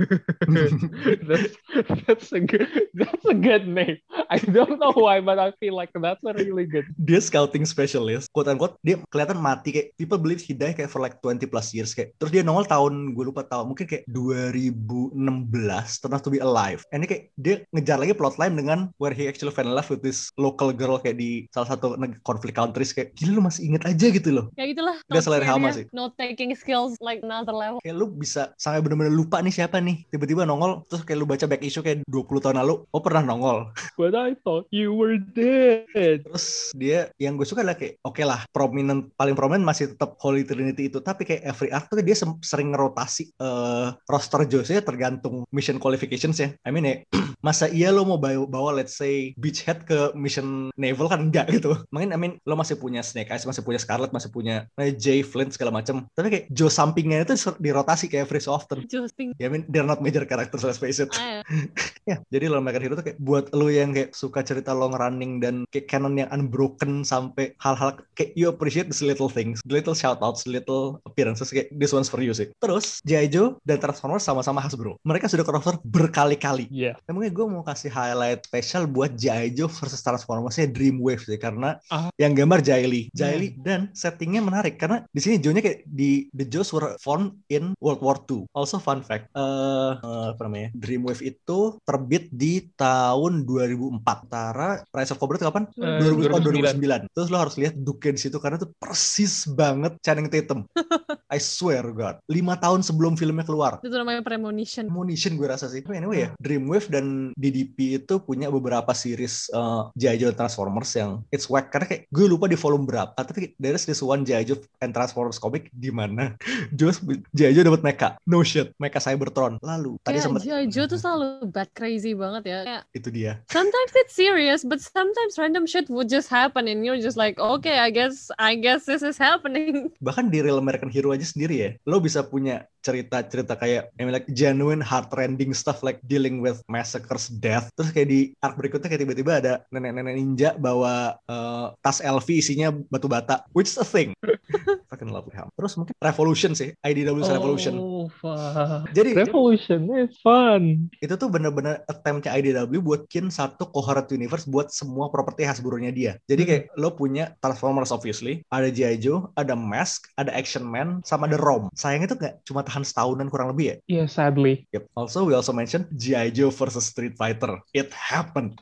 [SPEAKER 2] that's, that's a good that's a good name. I don't know why, but I feel like that's a really good.
[SPEAKER 1] dia scouting specialist. Quote unquote dia kelihatan mati kayak people believe he died kayak for like 20 plus years kayak. Terus dia nongol tahun gue lupa tahun mungkin kayak 2016 Turns to be alive. And dia kayak dia ngejar lagi plotline dengan where he actually fell in love with this local girl kayak di salah satu neg- conflict countries kayak gila lu masih inget aja gitu loh.
[SPEAKER 5] Ya itulah.
[SPEAKER 1] Udah selera Hama
[SPEAKER 5] note-nya.
[SPEAKER 1] sih.
[SPEAKER 5] Note taking skills like another level.
[SPEAKER 1] kayak lu bisa sampai bener-bener lupa nih siapa nih tiba-tiba nongol terus kayak lu baca back issue kayak 20 tahun lalu oh pernah nongol
[SPEAKER 2] But I thought you were dead.
[SPEAKER 1] terus dia yang gue suka adalah kayak oke lah prominent paling prominent masih tetap Holy Trinity itu tapi kayak every arc tuh dia sem- sering ngerotasi eh, roster Jose tergantung mission qualifications ya I mean ya masa iya lo mau bawa, bawa let's say Beachhead ke mission naval kan enggak gitu mungkin I mean lo masih punya Snake Eyes masih punya Scarlet masih punya eh, Jay Flint segala macam tapi kayak Joe sampingnya itu ser- dirotasi kayak every so often
[SPEAKER 5] Justin.
[SPEAKER 1] ya I mean they're not major characters let's face it
[SPEAKER 5] Ah,
[SPEAKER 1] Ya, jadi Lone Maker Hero tuh kayak buat lu yang kayak suka cerita long running dan kayak canon yang unbroken sampai hal-hal kayak you appreciate these little things, the little shoutouts, the little appearances kayak this one's for you sih. Terus G.I. Joe dan Transformers sama-sama Hasbro. Mereka sudah crossover berkali-kali.
[SPEAKER 2] Iya.
[SPEAKER 1] Emangnya gue mau kasih highlight spesial buat G.I. Joe versus Transformers Dreamwave sih karena
[SPEAKER 2] Ah. Iya.
[SPEAKER 1] yang gambar Jaili, Jaili dan settingnya menarik karena di sini Joe-nya kayak di the Joes were formed in World War II. Also fun fact, eh eh, apa namanya? Dreamwave itu terbit di tahun 2004. Tara Rise of Cobra itu kapan?
[SPEAKER 2] Eh,
[SPEAKER 1] 2000, tahun 2009.
[SPEAKER 2] 2009.
[SPEAKER 1] Terus lo harus lihat Duke di situ karena itu persis banget Channing Tatum. I swear God. 5 tahun sebelum filmnya keluar.
[SPEAKER 5] itu namanya premonition.
[SPEAKER 1] Ammunition gue rasa sih. Tapi anyway ya,
[SPEAKER 5] Hmm.
[SPEAKER 1] Dreamwave dan DDP itu punya beberapa series uh, G.I. Joe dan Transformers yang it's whack. Karena kayak gue lupa di volume berapa, tapi there is this one G.I. Joe and Transformers comic di mana Joe's- G.I. Joe dapat mecha. No shit, mecha Cybertron. Lalu, tadi
[SPEAKER 5] Kayak
[SPEAKER 1] sempat
[SPEAKER 5] G.I. Joe tuh selalu bad crazy banget ya. Kayak
[SPEAKER 1] itu dia.
[SPEAKER 5] sometimes it's serious, but sometimes random shit would just happen and you're just like, okay, I guess, I guess this is happening.
[SPEAKER 1] Bahkan di Real American Hero aja sendiri ya, lo bisa punya cerita-cerita kayak I mean, like genuine heart-rending stuff like dealing with massacres, death. Terus kayak di arc berikutnya kayak tiba-tiba ada nenek-nenek ninja bawa eh, tas LV isinya batu bata, which is a thing. Fucking love Ham. Terus mungkin Revolution sih, IDW Revolution.
[SPEAKER 2] Oh, fuck.
[SPEAKER 1] Jadi
[SPEAKER 2] Revolution is fun.
[SPEAKER 1] itu tuh bener-bener attempt-nya IDW buat kin satu coherent universe buat semua properti Hasbro-nya dia. Jadi kayak lo punya Transformers obviously, ada G.I. Joe, ada Mask, ada Action Man, sama ada ROM. Sayangnya tuh nggak cuma tahan setahunan kurang lebih ya.
[SPEAKER 2] Iya, sadly.
[SPEAKER 1] Yep. Also, we also mentioned G.I. Joe versus Street Fighter. It happened.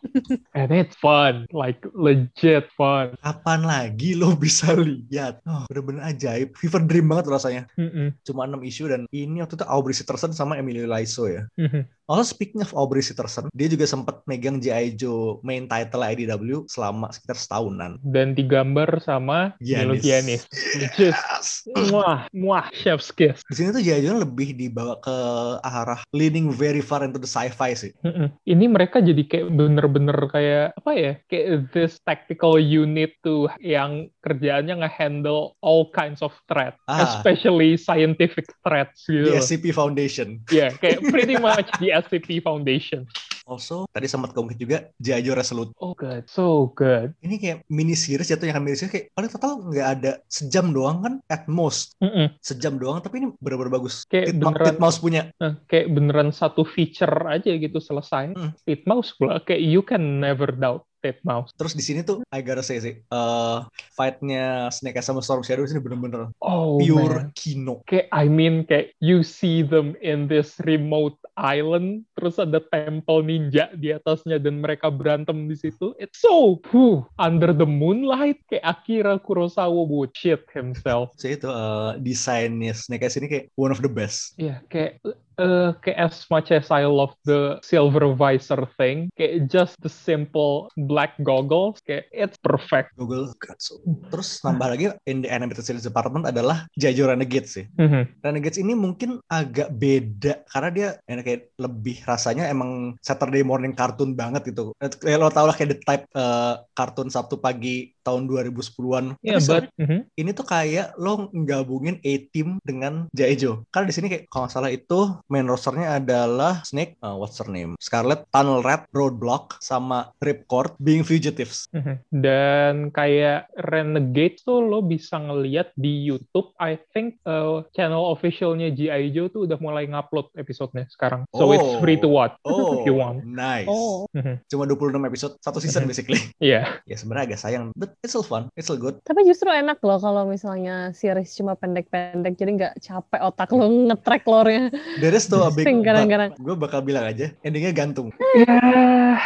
[SPEAKER 2] And it's fun. Like, legit fun.
[SPEAKER 1] Kapan lagi lo bisa lihat? Oh, bener-bener ajaib. Fever dream banget rasanya.
[SPEAKER 2] Mm-mm.
[SPEAKER 1] Cuma 6 isu dan ini waktu itu Aubrey Sitterson sama Emilio Laiso ya.
[SPEAKER 2] Mhm.
[SPEAKER 1] Also speaking of Aubrey Sitterson, dia juga sempat megang G.I. Joe main title IDW selama sekitar setahunan.
[SPEAKER 2] Dan digambar sama Milo
[SPEAKER 1] Giannis.
[SPEAKER 2] Giannis. Which is,
[SPEAKER 1] Yes.
[SPEAKER 2] muah, muah, chef's kiss.
[SPEAKER 1] Di sini tuh G.I. Joe lebih dibawa ke arah leaning very far into the sci-fi sih.
[SPEAKER 2] Mm-mm. Ini mereka jadi kayak bener-bener kayak apa ya? Kayak this tactical unit tuh yang kerjaannya ngehandle all kinds of threat,
[SPEAKER 1] Ah.
[SPEAKER 2] especially scientific threats gitu.
[SPEAKER 1] The
[SPEAKER 2] loh.
[SPEAKER 1] SCP Foundation.
[SPEAKER 2] Ya, kayak pretty much the SCP Foundation.
[SPEAKER 1] Also, tadi sempat keungkit juga G.I. Joe Resolute.
[SPEAKER 2] Oh good, so good.
[SPEAKER 1] ini kayak mini series jatuh yang mini series kayak paling total nggak ada sejam doang kan at most
[SPEAKER 2] Mm-mm.
[SPEAKER 1] sejam doang tapi ini benar-benar bagus
[SPEAKER 2] Kayak
[SPEAKER 1] Titma-
[SPEAKER 2] beneran.
[SPEAKER 1] Titmouse punya
[SPEAKER 2] Nah, kayak beneran satu feature aja gitu selesai.
[SPEAKER 1] Hmm.
[SPEAKER 2] Titmouse pula, kayak you can never doubt Titmouse.
[SPEAKER 1] terus di sini tuh I gotta say sih eh, fight-nya Snake Eyes sama Storm Shadow di sini bener-bener
[SPEAKER 2] Oh man.
[SPEAKER 1] pure kino
[SPEAKER 2] kayak I mean kayak you see them in this remote island terus ada temple ninja di atasnya dan mereka berantem di situ it's so whew, under the moonlight kayak Akira Kurosawa would shit himself
[SPEAKER 1] so itu eh, desainnya Snake Eyes ini kayak one of the best
[SPEAKER 2] ya kayak eh, kayak as much as I love the silver visor thing kayak just the simple black goggles kayak it's perfect
[SPEAKER 1] Google Gatsu. Terus nambah lagi in the animated series department adalah Jajo Renegade sih.
[SPEAKER 2] Mhm.
[SPEAKER 1] Renegades ini mungkin agak beda karena dia enak kayak lebih rasanya emang Saturday morning cartoon banget gitu. Eh, Lo tau lah kayak the type eh, kartun Sabtu pagi tahun 2010-an. Tapi
[SPEAKER 2] ya but
[SPEAKER 1] sorry,
[SPEAKER 2] mhm.
[SPEAKER 1] ini tuh kayak lo nggabungin A-Team dengan Jaejo. Karena di sini kayak kalau nggak salah itu main rosternya adalah Snake, eh, what's her name? Scarlet, Tunnel Rat, Roadblock, sama Ripcord, Being Fugitives.
[SPEAKER 2] Mhm. Dan kayak Renegade tuh lo bisa ngeliat di YouTube, I think uh, channel officialnya G.I. Joe tuh udah mulai ngupload episodenya sekarang.
[SPEAKER 1] Oh.
[SPEAKER 2] So it's free to watch
[SPEAKER 1] Oh,
[SPEAKER 2] if you want.
[SPEAKER 1] nice.
[SPEAKER 5] Oh.
[SPEAKER 2] Mhm.
[SPEAKER 1] Cuma 26 episode, satu season basically.
[SPEAKER 2] Iya.
[SPEAKER 1] ya sebenarnya agak sayang, but it's still fun, it's still good.
[SPEAKER 5] Tapi justru enak loh kalau misalnya series cuma pendek-pendek, jadi nggak capek otak lo ngetrek lore-nya.
[SPEAKER 1] There is tuh a big
[SPEAKER 5] Sing, kadang-kadang.
[SPEAKER 1] Gue bakal bilang aja, endingnya gantung.
[SPEAKER 2] Yeah.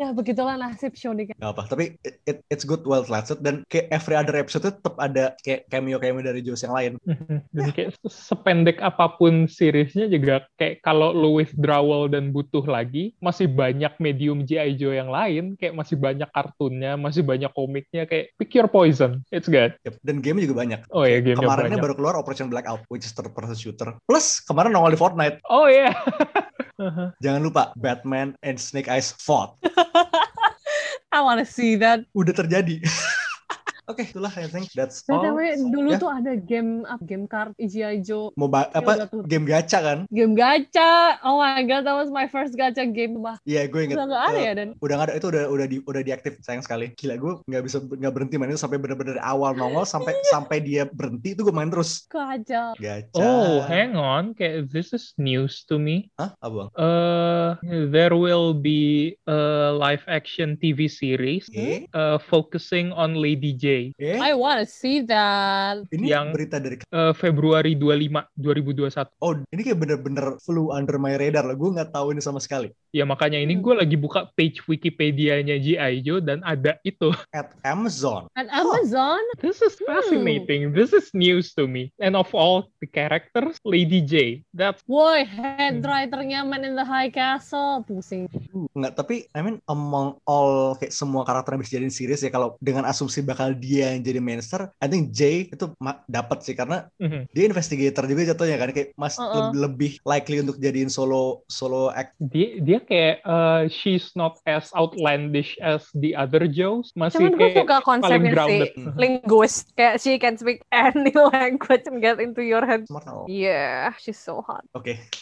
[SPEAKER 5] ya begitulah nasib Shonen.
[SPEAKER 1] Gak apa, tapi it, it- it's good well translated dan kayak every other episode tuh tetap ada kayak cameo-cameo dari Joes yang lain.
[SPEAKER 2] Jadi Mhm. kayak se- sependek apapun seriesnya juga kayak kalau lu withdrawal dan butuh lagi masih banyak medium G.I. Joe yang lain kayak masih banyak kartunnya masih banyak komiknya kayak pick your poison it's good
[SPEAKER 1] Yep. Dan game juga banyak.
[SPEAKER 2] oh ya game
[SPEAKER 1] Kemarinnya
[SPEAKER 2] banyak
[SPEAKER 1] baru keluar Operation Blackout, which is third person shooter. Plus kemarin nongol di Fortnite.
[SPEAKER 2] oh ya
[SPEAKER 1] Jangan lupa Batman and Snake Eyes fought.
[SPEAKER 5] I wanna see that.
[SPEAKER 1] Udah terjadi. Oke, itulah I think that's all.
[SPEAKER 5] Btw, dulu
[SPEAKER 1] Ya.
[SPEAKER 5] tuh ada game up game card G.I. Joe.
[SPEAKER 1] Mau ba-
[SPEAKER 5] Ya
[SPEAKER 1] apa
[SPEAKER 5] udah tuh.
[SPEAKER 1] game gacha kan?
[SPEAKER 5] Game gacha. Oh my god, that was my first gacha game. Bah,
[SPEAKER 1] Iya, gue inget.
[SPEAKER 5] udah nggak ada
[SPEAKER 1] Eh,
[SPEAKER 5] ya dan
[SPEAKER 1] udah nggak ada itu udah udah di udah diaktif sayang sekali gila gue nggak bisa nggak berhenti main itu sampai bener-bener dari awal nongol sampai sampai dia berhenti itu gue main terus
[SPEAKER 5] gacha.
[SPEAKER 1] gacha
[SPEAKER 2] oh hang on kayak this is news to me
[SPEAKER 1] Hah? apa bang
[SPEAKER 2] Uh, there will be a live action TV series
[SPEAKER 3] Hmm?
[SPEAKER 1] Eh?
[SPEAKER 2] uh, focusing on Lady J.
[SPEAKER 1] eh
[SPEAKER 5] I wanna see that.
[SPEAKER 1] ini
[SPEAKER 2] yang-
[SPEAKER 1] berita dari
[SPEAKER 2] Uh, Februari 25, 2021.
[SPEAKER 1] oh ini kayak bener-bener flu under my radar lah gue nggak tahu ini sama sekali
[SPEAKER 2] Ya makanya ini
[SPEAKER 5] Hmm.
[SPEAKER 2] gue lagi buka page Wikipedia-nya G.I. Joe dan ada itu.
[SPEAKER 1] at Amazon
[SPEAKER 5] At Amazon,
[SPEAKER 2] This is
[SPEAKER 3] Hmm.
[SPEAKER 2] fascinating. This is news to me. And of all the characters, Lady J. That's
[SPEAKER 5] woi
[SPEAKER 1] Hmm.
[SPEAKER 5] head writernya Man in the High Castle, pusing.
[SPEAKER 1] nggak tapi I mean among all kayak semua karakter yang bisa jadiin series ya kalau dengan asumsi bakal dia yang jadi mainster I think Jay itu ma- dapat sih karena
[SPEAKER 2] mhm.
[SPEAKER 1] dia investigator juga jatuhnya kan kayak mas
[SPEAKER 5] Uh-uh.
[SPEAKER 1] le- lebih likely untuk jadiin solo solo act
[SPEAKER 2] dia dia kayak uh, she's not as outlandish as the other Joes. Masih
[SPEAKER 3] Cuman gue
[SPEAKER 2] kayak
[SPEAKER 3] suka
[SPEAKER 2] paling
[SPEAKER 3] konsepnya
[SPEAKER 2] grounded.
[SPEAKER 3] sih. Linguist. Kayak she can speak any language and get into your head.
[SPEAKER 1] smart tau. Oke,
[SPEAKER 3] Yeah, she's so hot.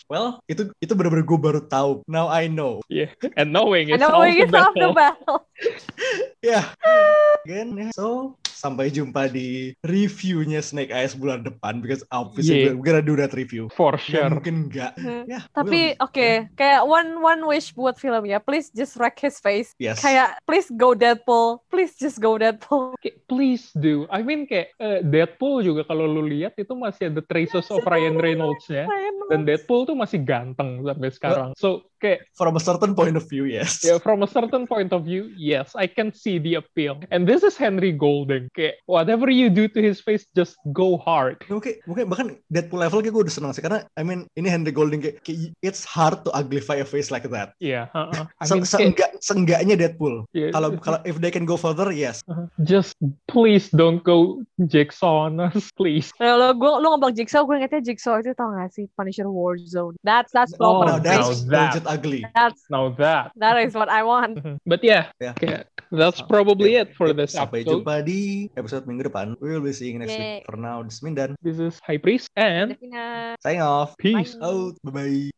[SPEAKER 1] well itu itu benar-benar gue baru tahu. Now I know.
[SPEAKER 2] And knowing
[SPEAKER 3] And
[SPEAKER 2] it's
[SPEAKER 3] now
[SPEAKER 2] all
[SPEAKER 3] it's off the
[SPEAKER 2] battle.
[SPEAKER 3] battle.
[SPEAKER 1] Ya, again, ya. so sampai jumpa di reviewnya Snake Eyes bulan depan because obviously
[SPEAKER 2] Yeah.
[SPEAKER 1] we're gonna do that review.
[SPEAKER 2] For
[SPEAKER 1] Dan
[SPEAKER 2] sure.
[SPEAKER 1] mungkin enggak.
[SPEAKER 3] Hmm.
[SPEAKER 1] Ya,
[SPEAKER 3] Tapi
[SPEAKER 1] we'll-
[SPEAKER 3] oke, kayak one one wish buat filmnya. Please just wreck his face.
[SPEAKER 1] Yes.
[SPEAKER 3] Kayak please go Deadpool. Please just go Deadpool.
[SPEAKER 2] Kayak, please do. I mean kayak eh, Deadpool juga kalau lu lihat itu masih ada traces of Ryan Reynolds-nya. Dan Deadpool tuh masih ganteng sampai sekarang. So kayak
[SPEAKER 1] From a certain point of view, yes.
[SPEAKER 2] ya from a certain point of view, yes, I can see the appeal. And this is Henry Golden. Kayak whatever you do to his face, just go hard.
[SPEAKER 1] Ya, Mungkin, mungkin bahkan Deadpool level kayak gue udah seneng sih karena I mean ini Henry Golding kayak, kayak it's hard to uglify a face like that.
[SPEAKER 2] Yeah. uh-uh. I
[SPEAKER 1] Se
[SPEAKER 2] mean, kayak-
[SPEAKER 1] seenggak, seenggaknya Deadpool.
[SPEAKER 2] yeah, uh-huh.
[SPEAKER 1] Kalau kalau if they can go further, yes.
[SPEAKER 2] just please don't go Jackson, please.
[SPEAKER 3] Nah, lo gue lo ngomong Jigsaw, gue ingetnya Jigsaw itu tau gak sih Punisher Warzone. That's that's
[SPEAKER 2] Oh,
[SPEAKER 1] Now
[SPEAKER 3] proper.
[SPEAKER 1] that's
[SPEAKER 2] now that.
[SPEAKER 1] legit ugly.
[SPEAKER 3] That's
[SPEAKER 2] Now that.
[SPEAKER 3] that is what I want.
[SPEAKER 2] Mhm. But yeah,
[SPEAKER 1] Yeah.
[SPEAKER 2] kayak, that's probably it for this
[SPEAKER 1] Sampai
[SPEAKER 2] episode.
[SPEAKER 1] jumpa di episode minggu depan. We will be seeing you next
[SPEAKER 3] Yay.
[SPEAKER 1] week. For now, this is Mindan.
[SPEAKER 2] This is High Priest and
[SPEAKER 3] Davina.
[SPEAKER 1] Signing off.
[SPEAKER 2] peace.
[SPEAKER 3] Bye.
[SPEAKER 1] Out. Bye-bye.